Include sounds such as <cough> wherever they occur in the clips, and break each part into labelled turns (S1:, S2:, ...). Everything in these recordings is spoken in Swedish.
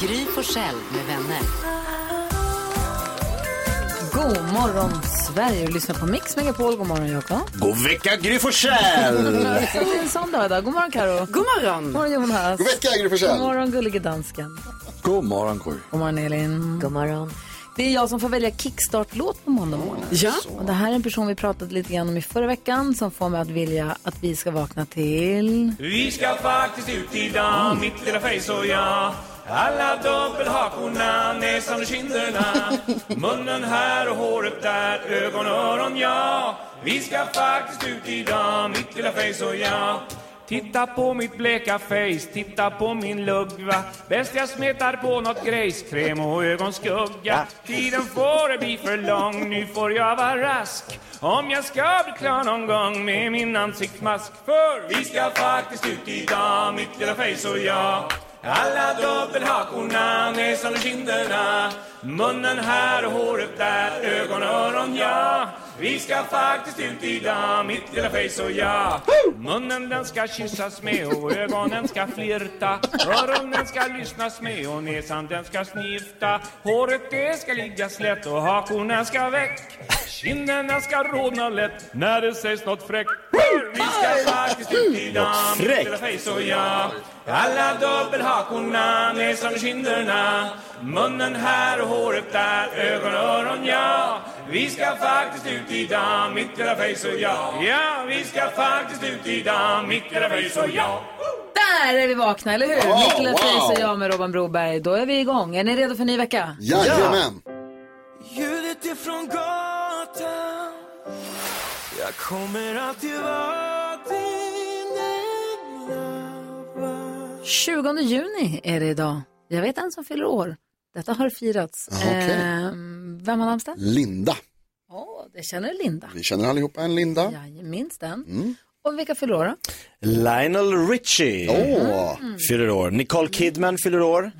S1: Gry Forssell med vänner.
S2: God morgon Sverige, du lyssnar på Mix Megapol. God morgon Jakob.
S3: God vecka Gry Forssell!
S2: Det är en sån dag idag. God morgon Karo. God morgon. morgon Jonas.
S3: God vecka, Gry Forssell.
S2: God morgon gullige dansken.
S4: God morgon, Gry.
S2: God morgon Elin. God morgon. Det är jag som får välja kickstart-låt på måndag morgon. Ja. Och det här är en person vi pratade lite grann om i förra veckan som får mig att vilja att vi ska vakna till...
S5: Vi ska faktiskt ut idag, mitt lilla face och jag Alla dubbelhakorna, näsan och kinderna Munnen här och håret där, ögon och öron ja Vi ska faktiskt ut idag, mitt lilla face och jag Titta på mitt bleka face, titta på min lugga Bäst jag smetar på något grejskräm och ögonskugga Tiden får bli för lång, nu får jag vara rask Om jag ska bli klar någon gång med min ansiktsmask För vi ska faktiskt ut idag, mitt lilla face och jag alla dubbelhakorna, näsan och kinderna Munnen här och håret där, ögon och öron ja Vi ska faktiskt ut idag, mitt lilla face och jag Munnen den ska kyssas med och ögonen ska flirta Öronen ska lyssnas med och näsan den ska snifta Håret det ska ligga slätt och hakorna ska väck Kinderna ska rodna lätt när det sägs något fräckt Vi ska faktiskt ut idag, mitt lilla face och jag alla dubbelhakorna, näsan och kinderna Munnen här och håret där, ögon och öron ja Vi ska faktiskt ut idag, mitt lilla face och jag Ja, vi ska faktiskt ut idag, mitt lilla face och jag
S2: Där är vi vakna, eller hur?
S3: Ja,
S2: Mitt lilla
S3: wow.
S2: Face och jag med Robban Broberg. Då är vi igång. Är ni redo för en ny vecka?
S3: Jajamän!
S5: Ljudet ifrån gatan Jag kommer alltid vara din änglavakt
S2: 20 juni är det idag. Jag vet en som fyller år. Detta har firats.
S3: okej.
S2: Ehm, vem har namnsdag?
S3: Linda.
S2: Åh, det känner Linda.
S3: Vi känner allihopa en Linda.
S2: Jag minns den. Och vilka fyller år då?
S6: Lionel Richie
S3: Åh,
S6: fyller år. Nicole Kidman fyller år.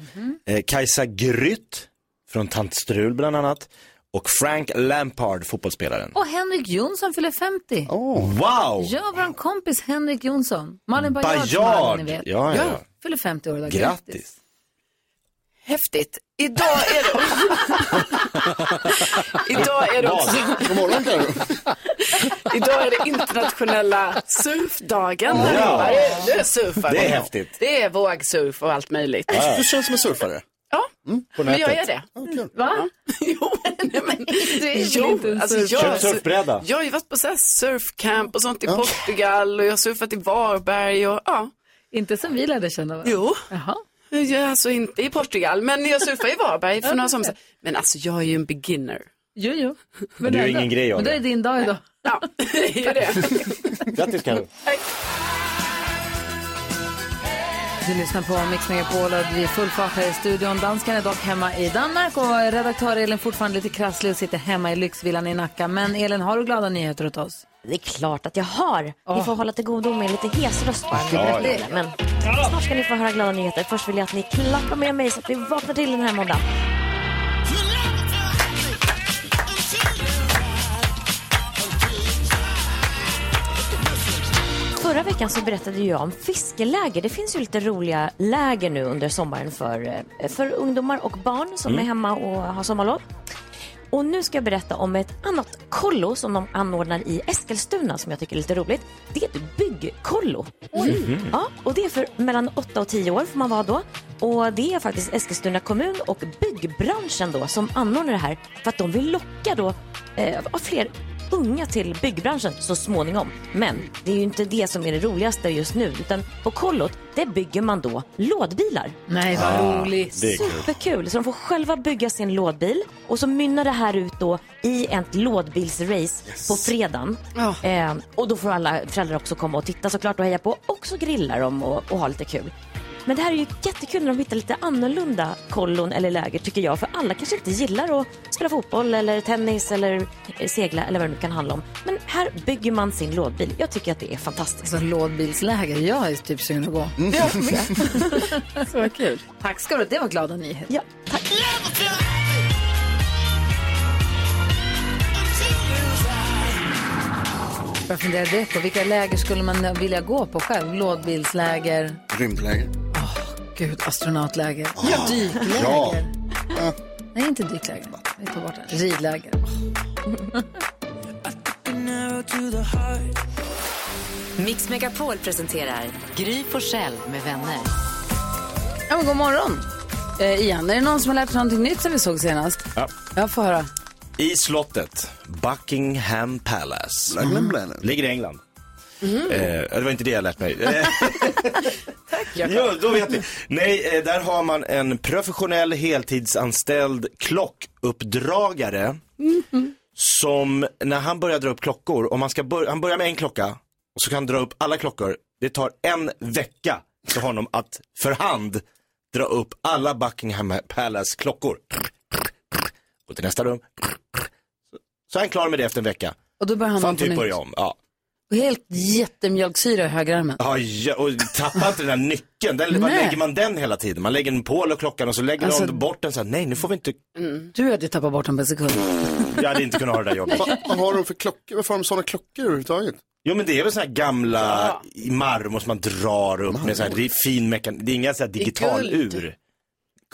S6: Eh, Kajsa Grytt från Tant Strul bland annat. Och Frank Lampard, fotbollsspelaren.
S2: Och Henrik Jonsson fyller 50.
S6: Wow!
S2: Ja, vår kompis Henrik Jonsson. Malin Baryards man,
S6: Bajard!
S2: ni
S6: Ja,
S2: vet.
S6: ja, ja.
S2: Fyller 50 år idag.
S6: Grattis!
S7: Häftigt. Idag är det, idag är det, också,
S3: god morgon Carro.
S7: idag är det internationella surfdagen.
S6: Ja.
S7: Nu surfar
S6: Det
S7: vi.
S6: är häftigt.
S7: Det är vågsurf och allt möjligt.
S3: Du känns som en surfare. Mm.
S7: Ja, men jag
S6: nätet.
S7: är det.
S3: Ja, kul.
S2: Va?
S7: <laughs> Jo, nej, men,
S2: väl
S7: jo
S2: inte en
S7: alltså
S2: surf-
S6: Köp
S7: jag,
S6: surfbräda.
S7: jag har ju varit på så här surfcamp och sånt i Portugal och jag har surfat i Varberg och ja,
S2: Inte som vi lärde känna varandra.
S7: jo.
S2: Jaha.
S7: Jag, alltså inte i Portugal, men jag surfade i Varberg för några somrar sedan. Men alltså jag är ju en beginner.
S2: Jo, jo. Men
S6: Du är
S2: ändå-
S6: ingen grej,
S2: Men då är
S6: Olga.
S2: det din dag idag. <laughs>
S7: Ja, det är det.
S6: <laughs> Grattis Carro.
S2: Du lyssnar på Mix Megapol och vi är full fart här i studion. Dansken är dock hemma i Danmark och redaktör Elin fortfarande lite krasslig och sitter hemma i lyxvillan i Nacka. Men Elin, har du glada nyheter åt oss?
S8: Det är klart att jag har. Ni får hålla till godo med en lite hes röst bara. när jag berättar om det. Men snart ska ni få höra glada nyheter. Först vill jag att ni klappar med mig så att vi vaknar till den här måndagen. Förra veckan så berättade ju jag om fiskeläger. Det finns ju lite roliga läger nu under sommaren för, eh, för ungdomar och barn som är hemma och har sommarlov. Och nu ska jag berätta om ett annat kollo som de anordnar i Eskilstuna som jag tycker är lite roligt. Det är ett byggkollo. Mm.
S6: Mhm.
S8: Ja, och det är för mellan 8 och 10 år får man vara då. Och det är faktiskt Eskilstuna kommun och byggbranschen då som anordnar det här för att de vill locka då eh, av fler unga till byggbranschen så småningom. Men det är ju inte det som är det roligaste just nu utan på kollot där bygger man då lådbilar.
S2: Nej, vad roligt.
S6: Ah, Det är kul.
S8: Superkul! Så de får själva bygga sin lådbil och så mynnar det här ut då i ett lådbilsrace på fredagen. Ehm,
S7: Ja.
S8: Eh, och då får alla föräldrar också komma och titta såklart och heja på. Också grillar de och, och ha lite kul. Men det här är ju jättekul när de hittar lite annorlunda kollon eller läger tycker jag. För alla kanske inte gillar att spela fotboll eller tennis eller eh, segla eller vad det nu kan handla om. Men här bygger man sin lådbil. Jag tycker att det är fantastiskt.
S2: Alltså lådbilsläger, jag är typ sugen att gå.
S8: Ja,
S2: <laughs> Så vad kul. Tack ska du ha. det var glada nyheter.
S8: Ja,
S2: Jag funderar direkt på vilka läger skulle man vilja gå på själv? Lådbilsläger,
S3: Rymdläger.
S2: gud, astronautläger,
S3: Ja.
S2: dykläger.
S3: Ja.
S2: Nej, inte dykläger. Vi tar bort det. Ridläger.
S1: Mix Megapol presenterar Gry Forssell med vänner.
S2: Ja, men god morgon. Eh, igen, är det någon som har lärt sig någonting nytt sen vi såg senast?
S6: Ja.
S2: Jag får höra.
S6: I slottet, Buckingham Palace.
S3: Bla, bla, bla, bla.
S6: Ligger i England. Eh, det var inte det jag lärt mig. <laughs> Eh,
S1: Jakob.
S6: ja, då vet ni. Nej, eh, där har man en professionell heltidsanställd klockuppdragare
S5: Mm.
S6: som när han börjar dra upp klockor, om han, ska bör- han börjar med en klocka och så kan han dra upp alla klockor. Det tar en vecka för honom att för hand dra upp alla Buckingham Palace klockor. Gå till nästa rum. Så är han klar med det efter en vecka.
S2: Och då börjar han
S6: Så
S2: om
S6: han
S2: på
S6: typ
S2: nytt.
S6: börjar om. Ja.
S2: Och Helt jättemjölksyra i högerarmen.
S6: Ja, ja, och tappa inte den där nyckeln. Den, vad
S2: Nej.
S6: lägger man den hela tiden? Man lägger den på klockan och så lägger
S2: Alltså-
S6: man bort den så här, nej nu får vi inte,
S2: Du hade tappat bort den på en sekund.
S6: jag hade inte kunnat ha det där jobbet.
S3: Vad, vad har de för klockor? Varför har de sådana klockor överhuvudtaget?
S6: Jo men det är väl sådana här gamla i marmor som man drar upp med så här, det är fin mekan, det är inga så här digital
S7: guld.
S6: ur.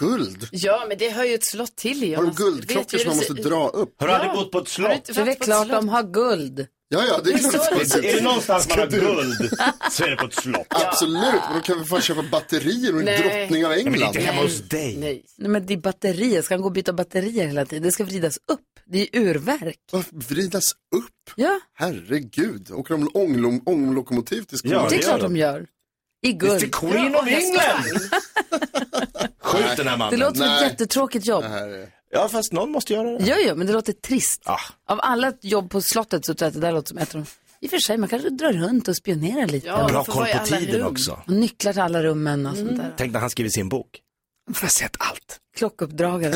S3: Guld?
S7: Ja, men det hör ju ett slott till i.
S3: Har de
S7: Jonas. Vet ju
S3: guldklockor
S7: hur
S3: som man
S7: det
S3: måste
S7: ser-
S3: dra upp?
S6: Har du aldrig bott på ett
S7: Har du
S6: slott?
S7: inte
S2: Så det är
S7: varit på ett
S2: klart
S7: slott?
S2: de har guld.
S3: Ja, ja, det är klart.
S7: så
S3: att
S7: det
S3: man
S7: ser
S6: Är det
S3: måste-
S6: någonstans man har guld så är det på ett slott.
S3: Absolut, men då kan vi fan köpa batterier och en
S7: Nej.
S3: drottning av
S6: Nej, men det är
S3: England.
S6: inte hemma hos dig.
S7: Nej.
S2: Nej, men det är batterier. Ska han gå och byta batterier hela tiden? Det ska vridas upp. Det är urverk.
S3: Varför Vridas upp?
S2: Ja,
S3: Herregud, åker de ånglom- ånglokomotiv till
S6: Ja,
S3: skolan?
S2: det är
S6: gör
S2: klart
S6: de.
S2: de gör. I
S6: It's the
S2: guld.
S6: Queen of England! Skjut den här
S2: Det
S6: mannen.
S2: låter som ett
S3: Nej.
S2: jättetråkigt jobb.
S3: Det här är-
S6: Ja fast någon måste göra det.
S2: Jo, jo, men det låter trist.
S6: Ah.
S2: Av alla jobb på slottet så tror jag att det där låter som ett av de... I och för sig, man kanske drar runt och spionerar lite.
S7: Ja.
S6: Bra
S7: man får
S6: koll
S7: vara i
S6: på
S7: alla
S6: tiden
S7: rum.
S6: också.
S2: Och nycklar till alla rummen och sånt
S3: Mm.
S2: där.
S6: Tänk när han skriver sin bok. Får jag sett allt?
S2: Klockuppdragare.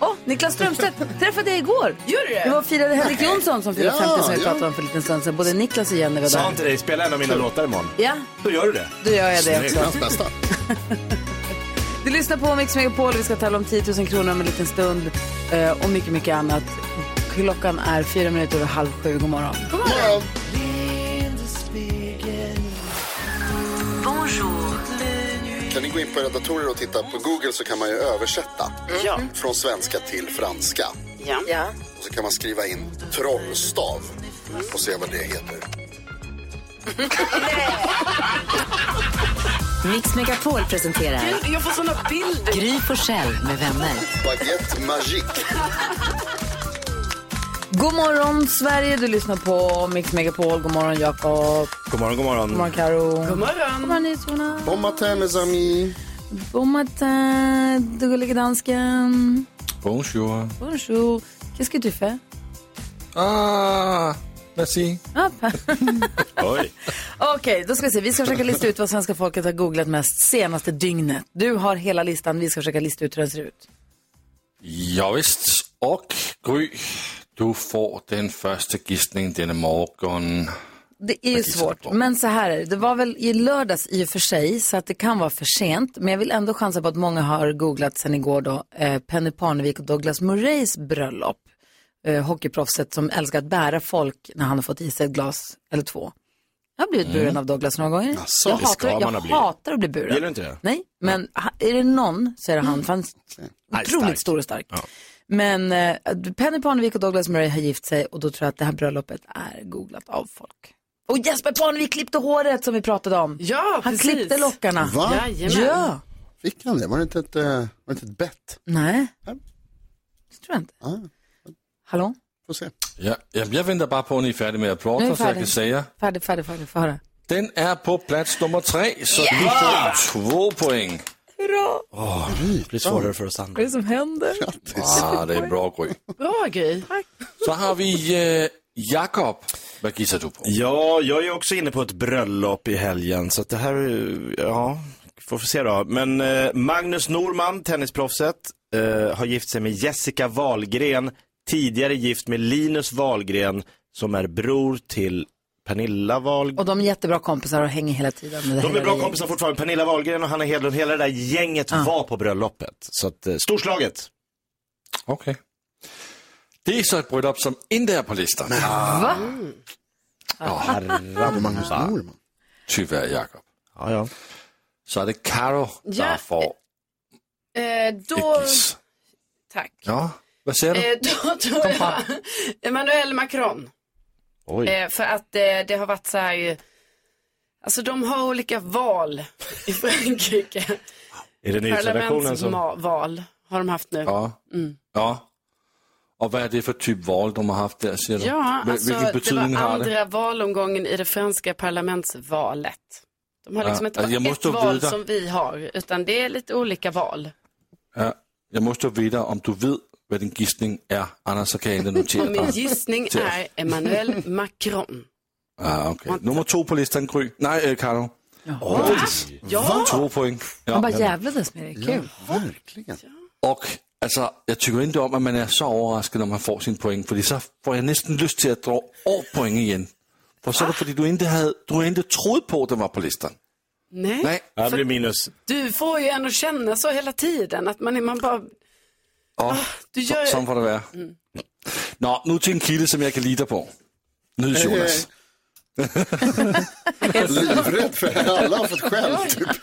S2: Åh, oh, Niklas Strömstedt träffade jag igår.
S7: Gör du det?
S2: Jag var och firade Henrik Jonsson som fyller
S3: Ja,
S2: 50 som vi
S3: ja.
S2: pratade om för en liten stund sedan. Både Niklas och Jenny var
S6: Sa
S2: där.
S6: han till dig, spela en av mina låtar imorgon.
S2: Ja,
S6: Då gör du det.
S2: då gör jag det också.
S3: Det är hans bästa.
S2: Du lyssnar på Mix Megapol. Vi ska tala om 10 000 kronor om en liten stund eh, och mycket, mycket annat. Klockan är fyra minuter över halv sju. God morgon.
S3: Ja,
S1: Bonjour.
S3: Kan ni gå in på era datorer och titta på Google så kan man ju översätta
S2: Mm.
S3: från svenska till franska.
S7: Ja.
S3: Och så kan man skriva in trollstav och se vad det heter.
S1: Mix Megapol presenterar
S7: Gud, Jag får såna bilder.
S1: Gry Forssell med vänner.
S3: Baguette magique.
S2: God morgon, Sverige. Du lyssnar på Mix Megapol. God morgon, Jakob.
S6: God morgon, god morgon.
S2: God morgon, Karo. God
S7: morgon.
S2: morgon, Jonas.
S3: Bon matin mes amis.
S2: Bon matin, du gullige dansken.
S4: Bonjour.
S2: Bonjour. Qu'est-ce que tu fais?
S4: Ah, merci.
S6: Oj.
S2: Okej, då ska vi se. Vi ska försöka lista ut vad svenska folket har googlat mest senaste dygnet. Du har hela listan. Vi ska försöka lista ut hur den ser ut.
S9: Ja, visst. Och Gry, du får den första gissningen denna morgon.
S2: Det är ju
S9: gissar
S2: svårt,
S9: på.
S2: men så här är det. Det var väl i lördags i och för sig, så att det kan vara för sent. Men jag vill ändå chansa på att många har googlat sen igår då, eh, Penny Parnevik och Douglas Murrays bröllop. Eh, hockeyproffset som älskar att bära folk när han har fått i sig ett glas eller två. Jag har blivit buren av Douglas några gånger.
S3: Asså,
S2: jag
S3: det
S6: Mm. ska
S2: hatar,
S6: man
S2: jag
S6: ha blivit.
S2: hatar att bli buren.
S6: Gillar du inte det?
S2: Nej, men ha- är det någon så är det han. För han är otroligt
S6: stark.
S2: stor och stark. Men eh, Penny Parnevik och Douglas Murray har gift sig och då tror jag att det här bröllopet är googlat av folk. Och Jesper Parnevik klippte håret som vi pratade om.
S7: Ja,
S2: han
S7: precis.
S2: klippte lockarna.
S3: Va?
S7: Jajamän.
S2: Ja.
S3: Fick han det? Var det inte ett, eh, var det inte ett bett?
S2: Nej,
S3: Ja.
S2: det tror jag inte.
S3: Ah,
S2: Hallå?
S3: får se.
S9: Ja, ja, jag väntar bara på att ni är färdiga med att
S2: Nu är vi
S9: prata så jag
S2: färdiga.
S9: kan säga.
S2: Färdig, färdig, färdig. Få höra.
S9: Den är på plats nummer tre, så du får två poäng.
S6: Det blir svårare för oss andra.
S2: Vad är det som händer?
S9: Ah, det är bra Gry.
S7: Bra Gry.
S9: Så har vi eh, Jakob. Vad gissar du på?
S6: Ja, jag är också inne på ett bröllop i helgen, så att det här, eh, ja, får vi se då. Men eh, Magnus Norman, tennisproffset, eh, har gift sig med Jessica Wahlgren, tidigare gift med Linus Wahlgren, som är bror till Pernilla Wahlgren.
S2: Och de är jättebra kompisar och hänger hela tiden. Med det
S6: De är
S2: hela
S6: bra
S2: gänget.
S6: kompisar fortfarande, Pernilla Wahlgren och Hanna Hedlund, hela det där gänget var på bröllopet. Så att, eh, storslaget!
S9: Okej. Det är så ett bröllop som inte är på listan.
S2: Va?
S9: Ja, Magnus Norman. Tyvärr, Jakob.
S6: Ja, ja.
S9: Så är det Karo
S7: Ja.
S9: som får...
S7: Eh, då... Tack.
S9: Ja, vad säger du?
S7: Eh, då tror jag Emmanuel Macron. Eh, för att eh, det har varit så här ju, alltså de har olika val i Frankrike.
S6: Är det nyhetsredaktionen som...
S7: Parlamentsval har de haft nu.
S9: Ja.
S7: Mm.
S9: ja. Och vad är det för typ val de har haft där, säger du?
S7: Ja,
S9: Vil-
S7: alltså
S9: Vilken
S7: det var
S9: betydning har det?
S7: andra valomgången i det franska parlamentsvalet. De har
S9: Ja,
S7: liksom inte
S9: alltså, jag
S7: bara ett
S9: måste
S7: val
S9: veta.
S7: som vi har, utan det är lite olika val.
S9: Ja, jag måste veta om du vet vad din gissning är, annars så kan jag inte
S7: <laughs>
S9: notera
S7: Och min
S9: den.
S7: gissning
S9: Till-
S7: är Emmanuel Macron.
S9: Ja, Ah, okay. Nummer två på listan, Gry. Nej, äh, Karo.
S7: Ja.
S9: Två poäng. Ja.
S2: Man bara jävlades med det, kul.
S9: verkligen. Och alltså, jag tycker inte om att man är så överraskad när man får sin poäng, för så får jag nästan lust till att dra av poäng igen. För så är det för att du inte, hade, du inte trodde på att den var på listan.
S7: Nej.
S9: Nej.
S6: Det blir minus.
S7: Du får ju en att känna så hela tiden, att man, är- man bara,
S9: Ja,
S7: du gör-
S9: så, sådan får det vara. Nå, nu till en kille som jag kan lita på. Nyhets Jonas.
S10: <laughs> Livrädd för att alla har fått skäll. Typ.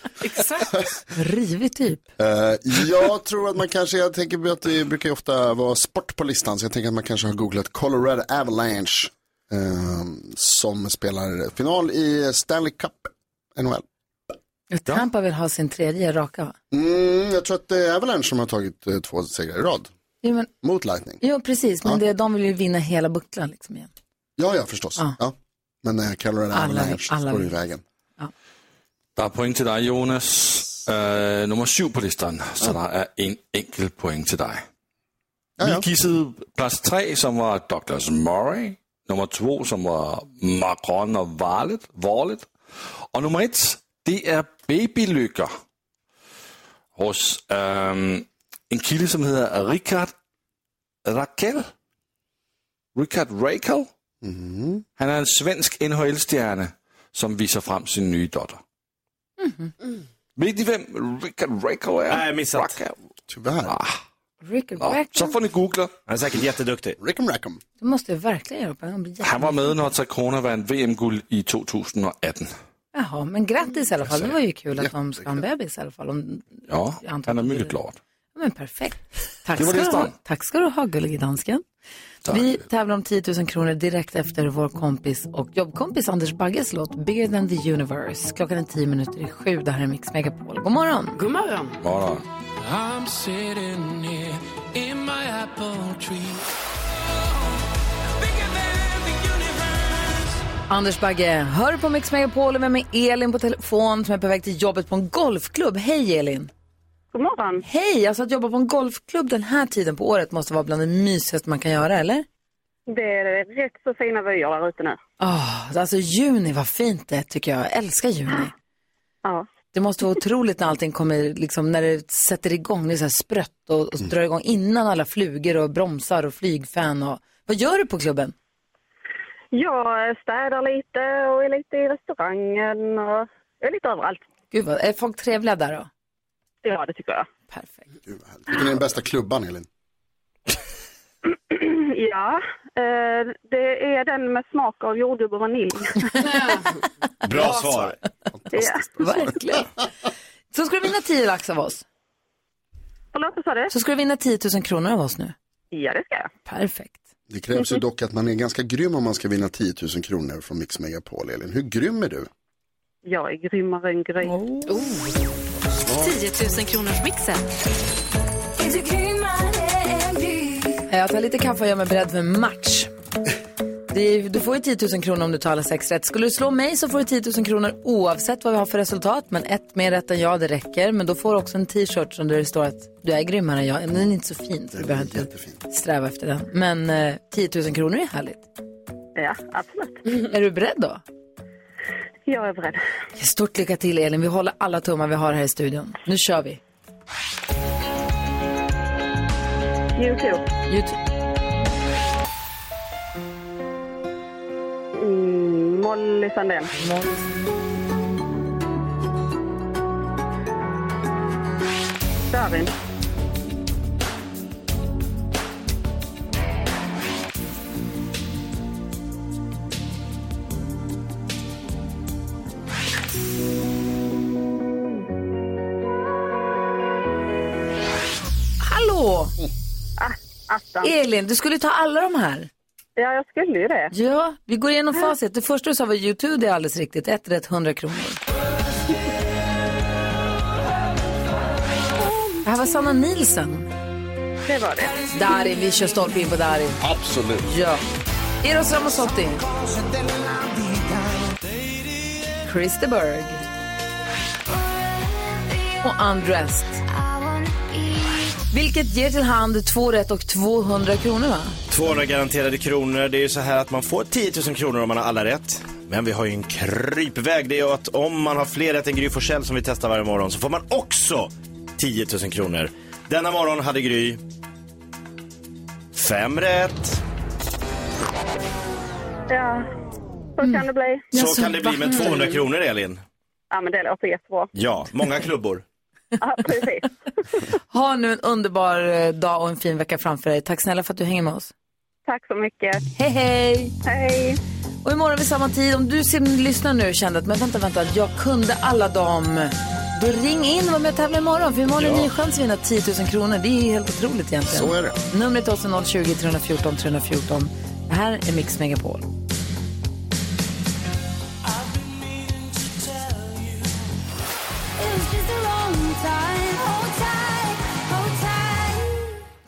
S2: Rivig typ.
S10: Eh, jag tror att man kanske, jag tänker att det brukar ju ofta vara sport på listan, så jag tänker att man kanske har googlat Colorado Avalanche, ehm, som spelar final i Stanley Cup, NHL.
S2: Tampa vill ha sin tredje raka, va?
S10: Mm, jag tror att det är Avalanche som har tagit eh, två segrar i rad,
S2: Jo, men,
S10: mot Lightning.
S2: jo precis, men det, de vill ju vinna hela bucklan liksom igen.
S10: Ja, ja, förstås. Ja. Men eh, Colorado
S2: Alla-
S10: Avalanche
S2: alla
S10: står i
S2: vet.
S10: vägen.
S9: Der er point til dig, Jonas. Øh, nummer syv på listen, så der er en enkelt point til dig. Vi gissede plads 3, som var Douglas Murray. Nummer 2, som var Macron og Varlet. Varlet. Og nummer 1, det er babylykker hos øhm, en kilde, som hedder Richard Raquel. Richard Raquel. Han er en svensk NHL-stjerne, som viser frem sin nye dotter. Ved I, hvem Richard Raquel er? Nej, missat. Raquel.
S10: Tyvärr.
S2: Rick
S9: Nå, Ah, så får ni googla.
S6: Han är säkert jätteduktig.
S10: Rickham Rackham.
S2: Du måste ju verkligen göra upp en. de blir jätte-
S9: Han var med, når Takona vann VM-guld i 2018.
S2: Jaha, men grattis i alla fall. Det var ju kul att de ska ha en bebis i alla fall. Om...
S9: Ja, han är mycket glad.
S2: Ja, men perfekt. Tack
S9: Det var
S2: ska, du
S9: listan.
S2: ha. Tack ska du ha, gullige dansken. Vi tävlar om 10 000 kronor direkt efter vår kompis och jobbkompis Anders Bagges låt Bigger than the universe. Klockan är 10 minuter i sju. Det här är Mix Megapol. God morgon!
S7: God morgon!
S9: Morgon.
S11: I'm sitting here in my apple tree.
S2: Anders Bagge, hör på Mix Megapol och med mig Elin på telefon som är på väg till jobbet på en golfklubb. Hej Elin!
S12: God morgon!
S2: Hej! Alltså att jobba på en golfklubb den här tiden på året måste vara bland det mysigaste man kan göra, eller?
S12: Det är rätt så fina vyer där ute nu.
S2: Ah, alltså juni, vad fint det är, tycker jag. Jag älskar juni.
S12: Ja.
S2: Det måste vara otroligt när allting kommer, liksom, när det sätter igång, det är så här sprött och, och drar igång innan alla flugor och bromsar och flygfän och... Vad gör du på klubben?
S12: Jag städar lite och är lite i restaurangen och jag är lite överallt.
S2: Gud vad, är folk trevliga där då?
S12: Ja, det tycker jag.
S10: Vilken är den bästa klubban, Elin?
S12: <clears throat> ja, eh, det är den med smak av jordgubb och
S2: <laughs>
S12: vanilj.
S6: Bra svar.
S12: ja.
S2: Verkligen. Så ska du vinna 10 lax av oss.
S12: Förlåt, vad sa du?
S2: Så ska du vinna 10 000 kronor av oss nu.
S12: Ja, det ska jag.
S2: Perfekt.
S10: Det krävs ju
S12: Mhm.
S10: dock att man är ganska grym om man ska vinna 10 000 kronor från Mix Megapol, Elin. Hur grym är du?
S12: Jag är grymmare än Gry.
S1: 10 000 Oh. kronors mixen.
S2: Eh, Jag tar lite kaffe och gör mig beredd för en match. Det är, du får ju 10 000 kronor om du tar alla sex rätt. Skulle du slå mig så får du 10 000 kronor oavsett vad vi har för resultat. Men ett mer rätt än jag, det räcker. Men då får du också en t-shirt som där det står att du är grymmare än jag. Men den är inte så fin, så du behöver inte sträva efter den. Men eh, 10 000 kronor är härligt.
S12: Ja, absolut.
S2: Är du beredd då?
S12: Jag är beredd.
S2: Stort lycka till Elin. Vi håller alla tummar vi har här i studion. Nu kör vi.
S12: Youtube.
S2: Youtube.
S12: Mm, Molly Sandén. Darin.
S2: Hallå!
S12: Ah, Attan.
S2: Elin, du skulle ta alla de här.
S12: Ja, jag skulle ju det.
S2: Ja, vi går igenom facit. Det första du sa var YouTube, det är alldeles riktigt. Ett rätt, 100 kronor. Det här var Sanna Nielsen.
S12: Det var det.
S2: Darin, vi kör stolpe in på Darin.
S13: Absolut.
S2: Ja. Eros Ramazzotti. Christer Berg. Och Undressed. Vilket ger till hand två rätt och 200 kronor va?
S6: 200 garanterade kronor. Det är ju så här att man får 10 000 kronor om man har alla rätt. Men vi har ju en krypväg. Det är ju att om man har fler rätt än Gry Forssell som vi testar varje morgon så får man också 10 000 kronor. Denna morgon hade Gry fem rätt.
S12: Ja, så
S2: Mm.
S12: kan det bli.
S6: Så kan det bli med 200 kronor Elin.
S12: Ja, men det låter jättebra.
S6: Ja, många klubbor.
S12: Ja, precis.
S2: Ha nu en underbar eh, dag och en fin vecka framför dig. Tack snälla för att du hänger med oss.
S12: Tack så mycket.
S2: Hej, hej!
S12: Hej!
S2: Och imorgon vid samma tid, om du som lyssnar nu kände att men vänta, vänta, jag kunde alla dem. Då ring in och var med och tävla imorgon, för imorgon är det
S8: Ja.
S2: ny chans att vinna 10 000 kronor. Det är ju helt otroligt egentligen.
S8: Så är
S2: det. Numret till oss är 020 314 314. Det här är Mix Megapol.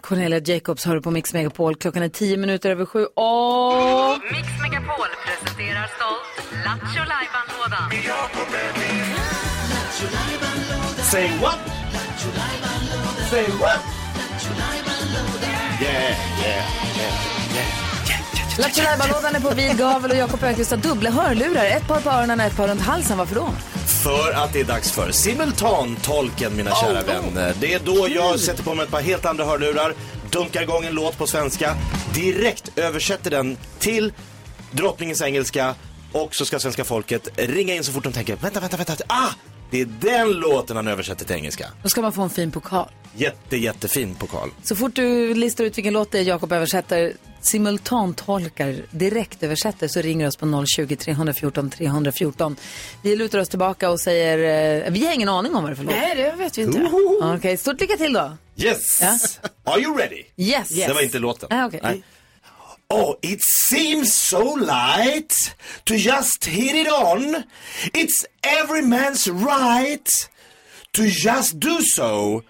S2: Cornelia Jacobs hör du på Mix Megapol. Klockan är 10 minuter över sju. Och...
S1: Mix Megapol presenterar stolt Lattjo Lajban-lådan.
S6: Say what? Say what? Yeah, yeah, yeah, yeah.
S2: Lattjo Lajban-lådan är på vid gavel och Jakob Öqvist har dubbla hörlurar. Ett par på öronen och ett par runt halsen. Varför då?
S6: För att det är dags för simultantolken mina
S2: Oh,
S6: kära vänner. Det är då jag sätter på mig ett par helt andra hörlurar, dunkar igång en låt på svenska, direkt översätter den till drottningens engelska och så ska svenska folket ringa in så fort de tänker vänta, vänta, vänta, ah! Det är den låten han översätter till engelska.
S2: Då ska man få en fin pokal.
S6: Jätte, jättefin pokal.
S2: Så fort du listar ut vilken låt det är Jakob översätter, simultantolkar, direkt översätter så ringer du oss på 020 314 314. Vi lutar oss tillbaka och säger, eh, vi har ingen aning om vad det är för låt.
S7: Nej, det vet vi inte.
S2: Okej, stort lycka till då.
S6: Yes!
S2: Ja.
S6: Are you ready?
S2: Yes. Yes.
S6: Det var inte låten.
S2: Ah, okej.
S6: Nej. Oh, it seems so light to just hit it on. It's every man's right to just do so.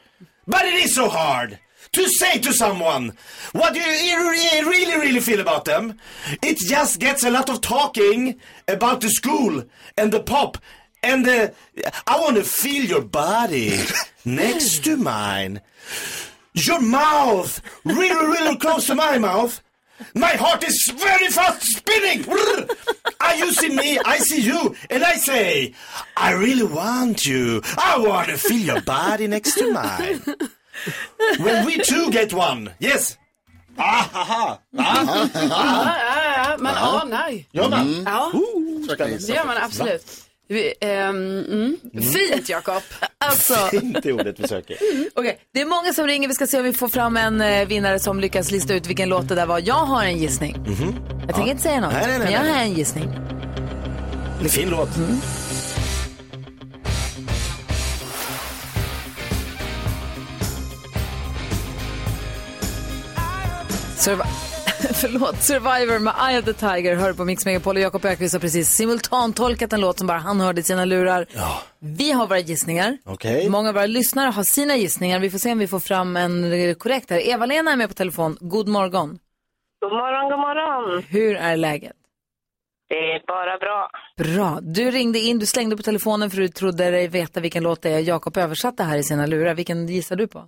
S6: But it is so hard to say to someone what you re- really, really feel about them. It just gets a lot of talking about the school and the pop and the. I want to feel your body next to mine. Your mouth, really, really close to my mouth. My heart is very fast spinning. Brr. Are you see me? I see you, and I say, I really want you. I want to feel your body next to mine. When we two get one, yes. Ah, ha, ha. Ah, ah.
S7: <laughs> Ja, ja, ja, man
S6: Ja.
S7: anar.
S6: Gör man?
S7: Mm. Ja, det gör man absolut. Vi, ehm, mm. Fint, Jakob. <laughs>
S2: Alltså.
S6: Inte ordet vi söker.
S2: Okej, det är många som ringer, vi ska se om vi får fram en eh, vinnare som lyckas lista ut vilken låt det där var. Jag har en gissning.
S6: Mhm. Mm-hmm.
S2: Jag tänker inte säga något,
S6: Nej, nej, nej,
S2: men jag
S6: nej.
S2: har en gissning.
S6: Det är fin låt.
S2: Survi- <laughs> Förlåt, Survivor med Eye of the Tiger hör på Mix Megapol och Jakob Öqvist har precis simultantolkat en låt som bara han hörde i sina lurar. Vi har våra gissningar.
S6: Okej.
S2: Många av våra lyssnare har sina gissningar. Vi får se om vi får fram en eh, korrekt här. Eva-Lena är med på telefon. God morgon.
S14: God morgon, god morgon.
S2: Hur är läget?
S14: Det är bara bra.
S2: Bra. Du ringde in, du slängde på telefonen för du trodde dig veta vilken låt det är. Jakob översatte här i sina lurar. Vilken gissar du på?
S14: Eh,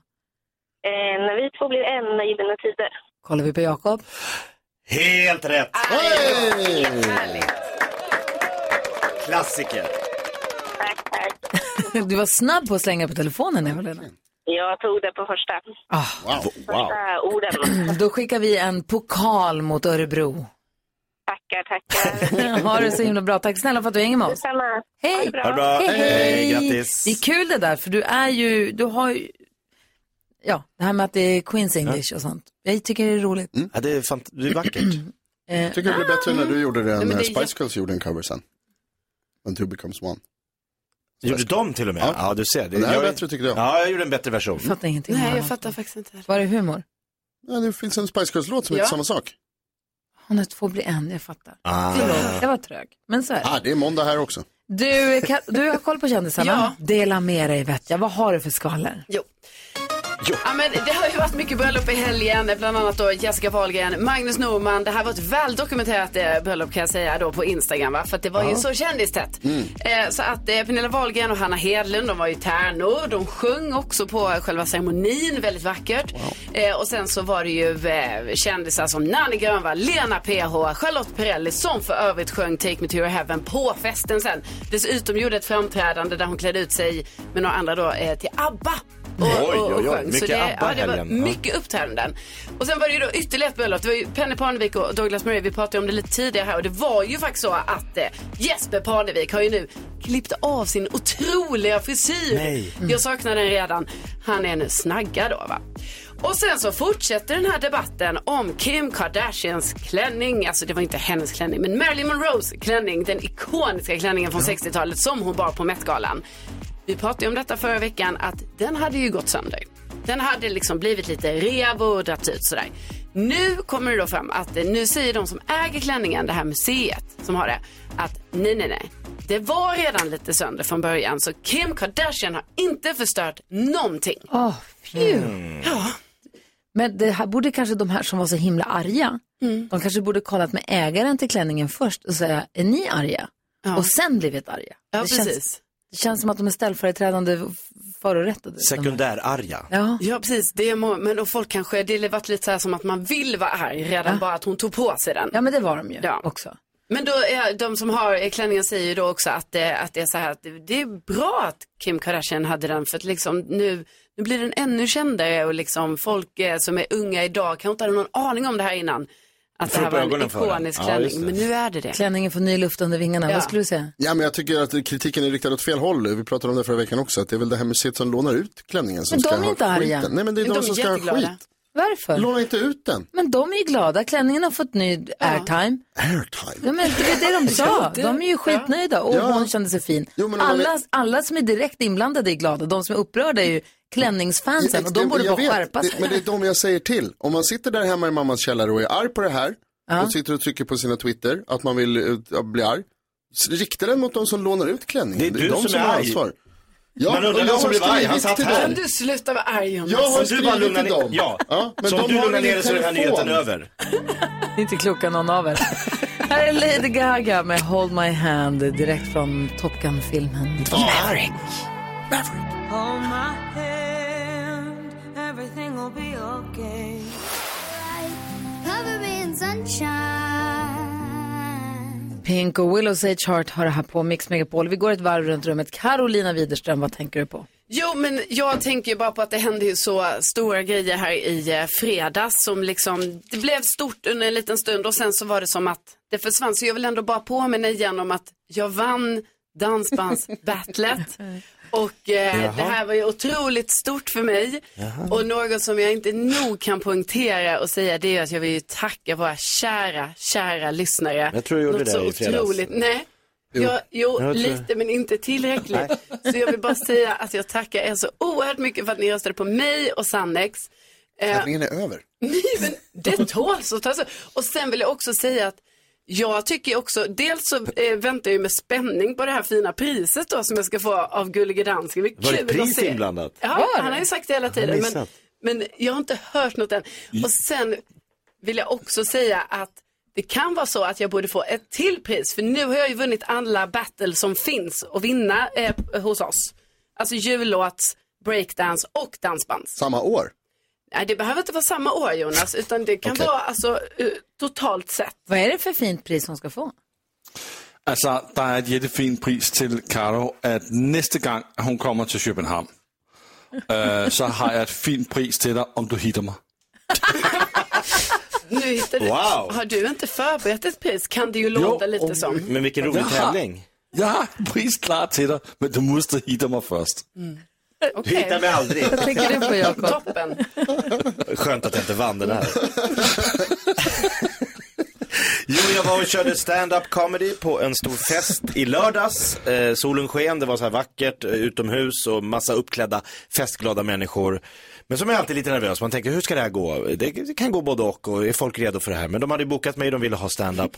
S14: när vi två blir en i givna tider.
S2: Kollar vi på Jakob. <laughs>
S6: Helt rätt!
S10: Hej!
S6: Klassiker.
S2: Du var snabb på att slänga på telefonen, Eva-Lena.
S14: Jag tog det på första.
S2: Ah.
S14: Första orden.
S2: Då skickar vi en pokal mot Örebro.
S14: Tackar, tackar.
S2: <laughs> ha det så himla bra. Tack snälla för att du hänger med oss.
S14: Detsamma.
S2: Hej!
S14: Ha det bra.
S2: Hej, hej. Det är kul det där, för du är ju, du har ju, ja, det här med att det är Queens English och sånt. Jag tycker det är roligt.
S6: Ja, det är, fant- det är vackert.
S2: <clears throat> Eh,
S10: Mm. Tycker det blir bättre när du gjorde
S2: Nej,
S10: det än
S2: men
S10: när
S2: det är jätte-
S10: Spice Girls gjorde en cover sen. When two becomes one.
S6: Gjorde de till och med? Ja, du ser.
S10: Det här är
S6: jag-
S10: bättre tycker jag.
S6: Ja, jag gjorde en bättre version.
S2: Jag fattar ingenting.
S7: Nej, jag fattar faktiskt inte.
S2: Var det humor?
S10: Ja, det finns en Spice Girls-låt som
S2: Ja.
S10: heter samma sak.
S2: Hon är två blir en, jag fattar.
S10: Ah.
S2: Förlåt, jag var trög. Men så är det.
S10: Ah, det är måndag här också.
S2: Du, kan, du har koll på kändisarna. Dela med dig vet jag. Vad har du för skvaller?
S7: Jo. Ja, men det har ju varit mycket bröllop i helgen, bland annat då Jessica Wahlgren, Magnus Norman. Det här var ett väldokumenterat eh, bröllop kan jag säga då på Instagram, va? för att det var ju
S13: Ja.
S7: så kändistätt.
S13: Mm.
S7: Eh, så att eh, Pernilla Wahlgren och Hanna Hedlund, de var ju tärnor. De sjöng också på själva ceremonin, väldigt vackert. Eh, och sen så var det ju eh, kändisar som Nanne Grönvall, Lena PH, Charlotte Perrelli som för övrigt sjöng Take Me To Your Heaven på festen sen. Dessutom gjorde ett framträdande där hon klädde ut sig med några andra då eh, till ABBA. Och,
S6: Oj,
S7: och, och
S6: oj, oj.
S7: sjöng. Så
S6: Mycket
S7: det,
S6: ABBA
S7: ja, det var
S6: helgen. Mm. Ja.
S7: mycket uppträdanden. Och sen var det ju då ytterligare ett bröllop. Det var ju Penny Parnevik och Douglas Murray. Vi pratade om det lite tidigare här och det var ju faktiskt så att eh, Jesper Parnevik har ju nu klippt av sin otroliga frisyr. Mm.
S13: Nej.
S7: Jag saknar den redan. Han är nu snaggad då va. Och sen så fortsätter den här debatten om Kim Kardashians klänning. Alltså det var inte hennes klänning, men Marilyn Monroes klänning. Den ikoniska klänningen från 60-talet som hon bar på Met-galan. Vi pratade ju om detta förra veckan att den hade ju gått sönder. Den hade liksom blivit lite rev och dragit ut sådär. Nu kommer det då fram att eh, nu säger de som äger klänningen, det här museet som har det, att nej, nej, nej. Det var redan lite sönder från början så Kim Kardashian har inte förstört någonting.
S2: Åh, fy.
S6: Mm.
S2: Men det här borde kanske de här som var så himla arga,
S7: Mm.
S2: de kanske borde kollat med ägaren till klänningen först och säga, är ni arga? Och sen blivit arga. det,
S7: Ja, precis.
S2: känns, det känns som att de är ställföreträdande f- förorättade.
S6: Sekundärarga.
S2: Ja.
S7: ja, precis. Det är må- men och folk kanske, det har varit lite så här som att man vill vara arg redan bara att hon tog på sig den.
S2: Ja, men det var de ju också.
S7: Men då är de som har eh, klänningen säger ju då också att det, att det är så här att det är bra att Kim Kardashian hade den för att liksom nu, nu blir den ännu kändare och liksom folk eh, som är unga idag kanske inte hade någon aning om det här innan. Att det
S10: Får
S7: här
S10: upp
S7: var en
S10: ögonen för den.
S7: ikonisk
S10: Ja,
S7: klänning,
S10: just det.
S7: men nu är det det.
S2: Klänningen får ny luft under vingarna,
S7: Ja.
S2: vad skulle du säga?
S10: Ja, men jag tycker att kritiken är riktad åt fel håll. Vi pratade om det förra veckan också, att det är väl det här museet som lånar ut klänningen som
S2: Men
S10: ska
S2: de är
S10: ha
S2: inte arga.
S10: skiten. Nej, men det är
S2: Jo, de
S10: de,
S2: är
S10: som ska ha
S2: jätteglada.
S10: skit.
S2: Varför?
S10: Låna inte ut den.
S2: Men de är ju glada, klänningen har fått ny airtime.
S10: Airtime?
S2: Ja, men det är det de
S10: <laughs> Ja,
S2: sa,
S10: det-
S2: de är ju skitnöjda och
S10: Ja.
S2: hon kände sig fin.
S10: men om man
S2: alla,
S10: är-
S2: alla som är direkt inblandade är glada, de som är upprörda är ju klänningsfansen och de
S10: det-
S2: borde
S10: jag
S2: bara
S10: vet.
S2: skärpa sig.
S10: Det, men det är de jag säger till. Om man sitter där hemma i mammas källare och är arg på det här
S2: Ja.
S10: och sitter och trycker på sina Twitter att man vill eh, ja, bli arg. s- Rikta den mot de som lånar ut klänningen.
S6: Det är du
S10: de
S6: som är
S10: har
S6: arg.
S10: ansvar.
S6: Man undrar
S10: och jag
S6: vem som
S10: har
S6: blev arg. Han
S10: skrivit
S6: satt
S10: till
S6: här.
S10: dem.
S7: Kan du sluta vara arg Jonas?
S10: Jag har
S6: Om du bara
S10: skrivit
S6: lugnar
S10: till
S6: ner-
S10: dem.
S6: Ja. Så om
S10: de
S6: du
S10: har
S6: lugnar
S10: ingen
S6: ner dig så är den här
S10: telefon.
S6: nyheten över.
S2: Ni är <laughs> inte kloka någon av er. Här är Lady Gaga med Hold My Hand direkt från Top Gun-filmen. Maverick.
S13: Hold my hand, everything will be okay. Cover me in sunshine.
S2: Pink och Willow Sage Heart har det här på Mix Megapol. Vi går ett varv runt rummet. Carolina Widerström, vad tänker du på?
S7: Jo, men jag tänker ju bara på att det hände ju så stora grejer här i eh, fredags som liksom, det blev stort under en liten stund och sen så var det som att det försvann. Så jag vill ändå bara påminna igen om att jag vann dansbandsbattlet. Och
S13: Jaha.
S7: eh, det här var ju otroligt stort för mig.
S13: Jaha.
S7: Och något som jag inte nog kan poängtera och säga det är att jag vill ju tacka våra kära, kära lyssnare.
S6: Jag tror jag gjorde
S7: Något
S6: det
S7: så
S6: i fredags.
S7: otroligt. Nej,
S6: Jo.
S7: jag, jo
S6: Jag tror-
S7: lite men inte tillräckligt. <laughs> Så jag vill bara säga att jag tackar er så oerhört mycket för att ni röstade på mig och Sannex. Eh,
S10: Tävlingen är över.
S7: det tåls att tas upp. Och sen vill jag också säga att jag tycker också, dels så eh, väntar jag ju med spänning på det här fina priset då som jag ska få av Gullige Dansken. Det
S6: Var
S7: är
S6: det
S7: kul att
S6: pris
S7: se.
S6: inblandat?
S7: Ja,
S6: Var det?
S7: han har ju sagt det hela
S6: har
S7: tiden. Men,
S6: missat.
S7: men jag har inte hört något än. Och sen vill jag också säga att det kan vara så att jag borde få ett till pris. För nu har jag ju vunnit alla battle som finns att vinna eh, hos oss. Alltså jullåts, breakdance och dansbands.
S10: Samma år.
S7: Nej, det behöver inte vara samma år Jonas, utan det kan
S9: Okej.
S7: vara alltså, eh, totalt sett.
S2: Vad är det för fint pris hon ska få?
S9: Altså, der er et jättefint pris til Caro, at næste gang, at hun kommer til København, øh, så har jeg et fint pris till dig, om du hitter mig.
S7: Nu hittar du,
S9: Wow.
S7: Har du inte förberett ett pris kan det ju låta lite som.
S9: Men vilken
S6: rolig tävling.
S9: Jag har et pris klar till dig, men du måste hitta mig först.
S7: Okej.
S6: hittar mig aldrig.
S2: Vad tänker du på Jakob?
S7: Toppen.
S6: Skönt att jag inte vann den här. Jo, jag var och körde stand-up comedy på en stor fest i lördags. Eh, solen sken, det var så här vackert eh, utomhus och massa uppklädda festglada människor. Men som är alltid lite nervös, man tänker hur ska det här gå? Det, det kan gå både och och är folk redo för det här? Men de hade ju bokat mig, de ville ha stand-up.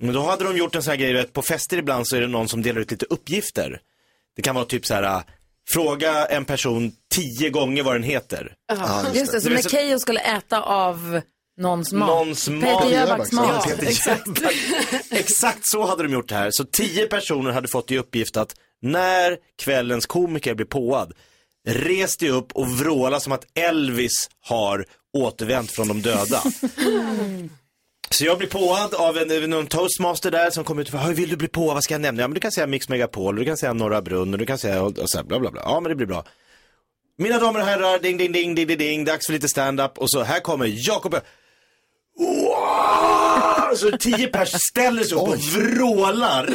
S6: Men då hade de gjort en sån här grej, du vet, på fester ibland så är det någon som delar ut lite uppgifter. Det kan vara typ så här, äh, fråga en person tio gånger vad den heter.
S2: Just, det, så
S6: Du
S2: när
S6: vet, så-
S2: Keyyo skulle äta av någons mat.
S6: Någons mat.
S2: Peter Jöbacks mat.
S6: Ja, Peter Jöback. Exakt så hade de gjort det här. Så tio personer hade fått i uppgift att när kvällens komiker blir påad, res dig upp och vråla som att Elvis har återvänt från de döda. Så jag blir påad av en, en, en toastmaster där som kom ut och bara, "Hej, vill du bli påad, vad ska jag nämna? Ja men du kan säga Mix Megapol, du kan säga Norra Brunn, och du kan säga, och, och så här, bla bla bla. Ja men det blir bra. Mina damer och herrar, ding ding ding ding ding, ding dags för lite stand-up och så här kommer Jakob Ö- Wow! Så tio pers ställer sig upp och vrålar.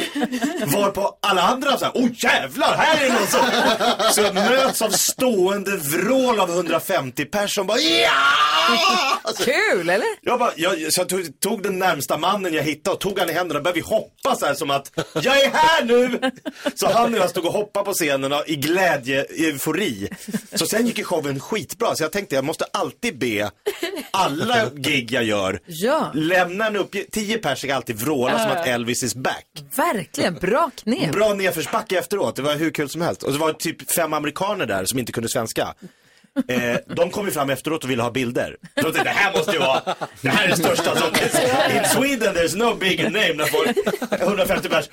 S6: Varpå alla andra så här, oh jävlar, här är någon som... Så jag möts av stående vrål av 150 pers som bara, ja!
S2: Kul, eller?
S6: Jag, bara, jag, så jag tog, tog den närmsta mannen jag hittade och tog han i händerna och började vi hoppa så här som att jag är här nu! Så han och jag stod och hoppade på scenen och- i glädje, i eufori. Så sen gick ju showen skitbra så jag tänkte jag måste alltid be alla gig jag gör
S2: Ja.
S6: lämna en uppgift. Tio pers ska alltid vråla som
S2: Ja, ja.
S6: att Elvis is back.
S2: Verkligen, bra knep.
S6: Bra nedförsbacke efteråt, det var hur kul som helst. Och det var typ fem amerikaner där som inte kunde svenska. Eh, de kom ju fram efteråt och ville ha bilder. De tänkte, det här måste ju vara, det här är det största som finns. In Sweden there's no bigger name när folk, 150 pers,